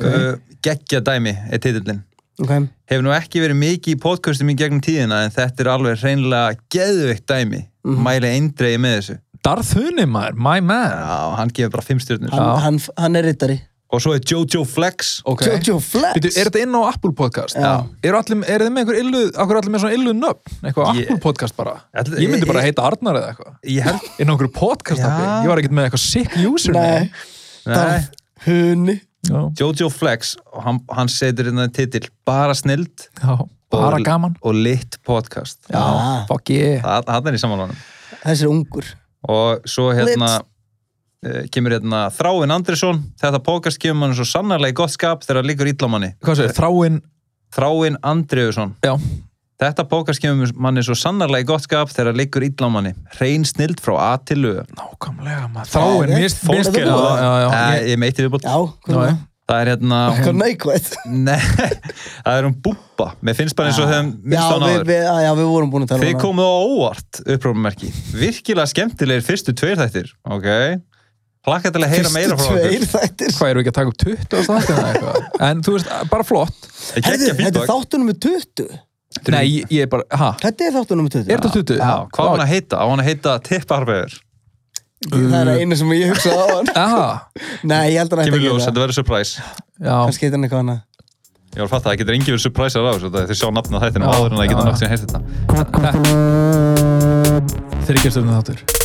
Speaker 3: uh, geggja dæmi er titillin.
Speaker 1: okay.
Speaker 3: Hefur nú ekki verið mikið í podcastum í gegnum tíðina en þetta er alveg hreinlega geðveikt dæmi.
Speaker 1: Mhm.
Speaker 3: Mæli eindreiði með þessu.
Speaker 2: Darth Huni maður, my man
Speaker 3: Já, hann gefur bara fimm stjórnir.
Speaker 1: hann, hann, hann er rittari
Speaker 3: Og svo er Jojo Flex.
Speaker 2: Ok.
Speaker 1: Jojo Flex
Speaker 2: Býtu, er þetta inn á Apple podcast?
Speaker 1: Já.
Speaker 2: Eru allir, er þið með einhver illu, akkur allir með svona illu nöfn? Eitthvað
Speaker 3: Ég-
Speaker 2: Apple podcast bara?
Speaker 3: Ætli-
Speaker 2: Ég myndi bara
Speaker 3: ég-
Speaker 2: heita Arnar eða eitthvað.
Speaker 3: Ég held...
Speaker 2: Inn á einhver podcast appi.
Speaker 3: Já.
Speaker 2: Ég var ekkert með eitthvað sick username.
Speaker 1: Nei, Darth Huni
Speaker 2: Já.
Speaker 3: Jojo Flex og hann, hann setur hérna titill bara snild
Speaker 2: Já. Bara gaman.
Speaker 3: og lit podcast
Speaker 2: Já.
Speaker 1: Ah.
Speaker 2: Fuck yeah.
Speaker 3: það, það er í samanlónum
Speaker 1: Þessi er ungur
Speaker 3: og svo hérna uh, kemur hérna Þráin Andrisson þetta podcast kemur mann svo sannarlega í gott skap þegar líkur íllamanni
Speaker 2: Hvað segir, þráinn?
Speaker 3: Þráin Andriðusson
Speaker 2: Já.
Speaker 3: þetta podcast kemur manni svo sannarlega í gott skap þegar líkur íllamanni hrein snild frá A til Ö
Speaker 2: Nákvæmlega maður. Þráinn,
Speaker 1: Já,
Speaker 2: mér finnst-
Speaker 1: fólk
Speaker 2: mér finnst-
Speaker 1: er
Speaker 2: Já,
Speaker 1: búið.
Speaker 2: já, já.
Speaker 3: Eh,
Speaker 2: Ég-
Speaker 3: ég meiti þið búin
Speaker 1: Já, hvað er
Speaker 2: Já, já.
Speaker 1: það?
Speaker 3: það er hérna
Speaker 1: Hvað
Speaker 3: hún,
Speaker 1: neikvæð
Speaker 3: nei, það er hún Búbba mér finnst bara eins og þeim
Speaker 1: Já,
Speaker 3: minnst á
Speaker 1: við,
Speaker 3: náður
Speaker 1: við, ah, já, við vorum búin að tala
Speaker 3: Þið
Speaker 1: um það.
Speaker 3: komuð á óvart, upprópumarki. Virkilega skemmtilegir fyrstu tveir þættir, ok? Plakka til að heyra meira frá okkur.
Speaker 1: Tveir þættir
Speaker 2: Hvað eru við ekki að taka upp 20 og það eitthvað? En þú veist, bara flott.
Speaker 3: Ég
Speaker 1: Herðu,
Speaker 3: gekkja
Speaker 1: Þetta er
Speaker 3: feedback.
Speaker 1: þáttunum með 20
Speaker 2: Nei, ég- ég er bara, ha?
Speaker 1: Þetta er þáttunum með 20
Speaker 2: Er þetta 20?
Speaker 3: Já, hvað á hann að heita? Á hann að heita tipparbegur.
Speaker 1: Það er eina sem ég hugsaði á hann
Speaker 2: Aha.
Speaker 1: Nei, ég held að hann ætti
Speaker 3: Kemur
Speaker 1: að
Speaker 3: ljós,
Speaker 1: gera það
Speaker 3: þetta verður surprise.
Speaker 2: Já.
Speaker 1: Kannski heitir hann eitthvað annað
Speaker 3: Ég var að fatta að það getur engi verið surprise á þessu. Þið sjá nafna þættinu áður en það
Speaker 2: Já,
Speaker 3: getur
Speaker 2: já.
Speaker 3: nátt sem heyrst þetta.
Speaker 2: Þetta- Þeirri gerstefni þáttur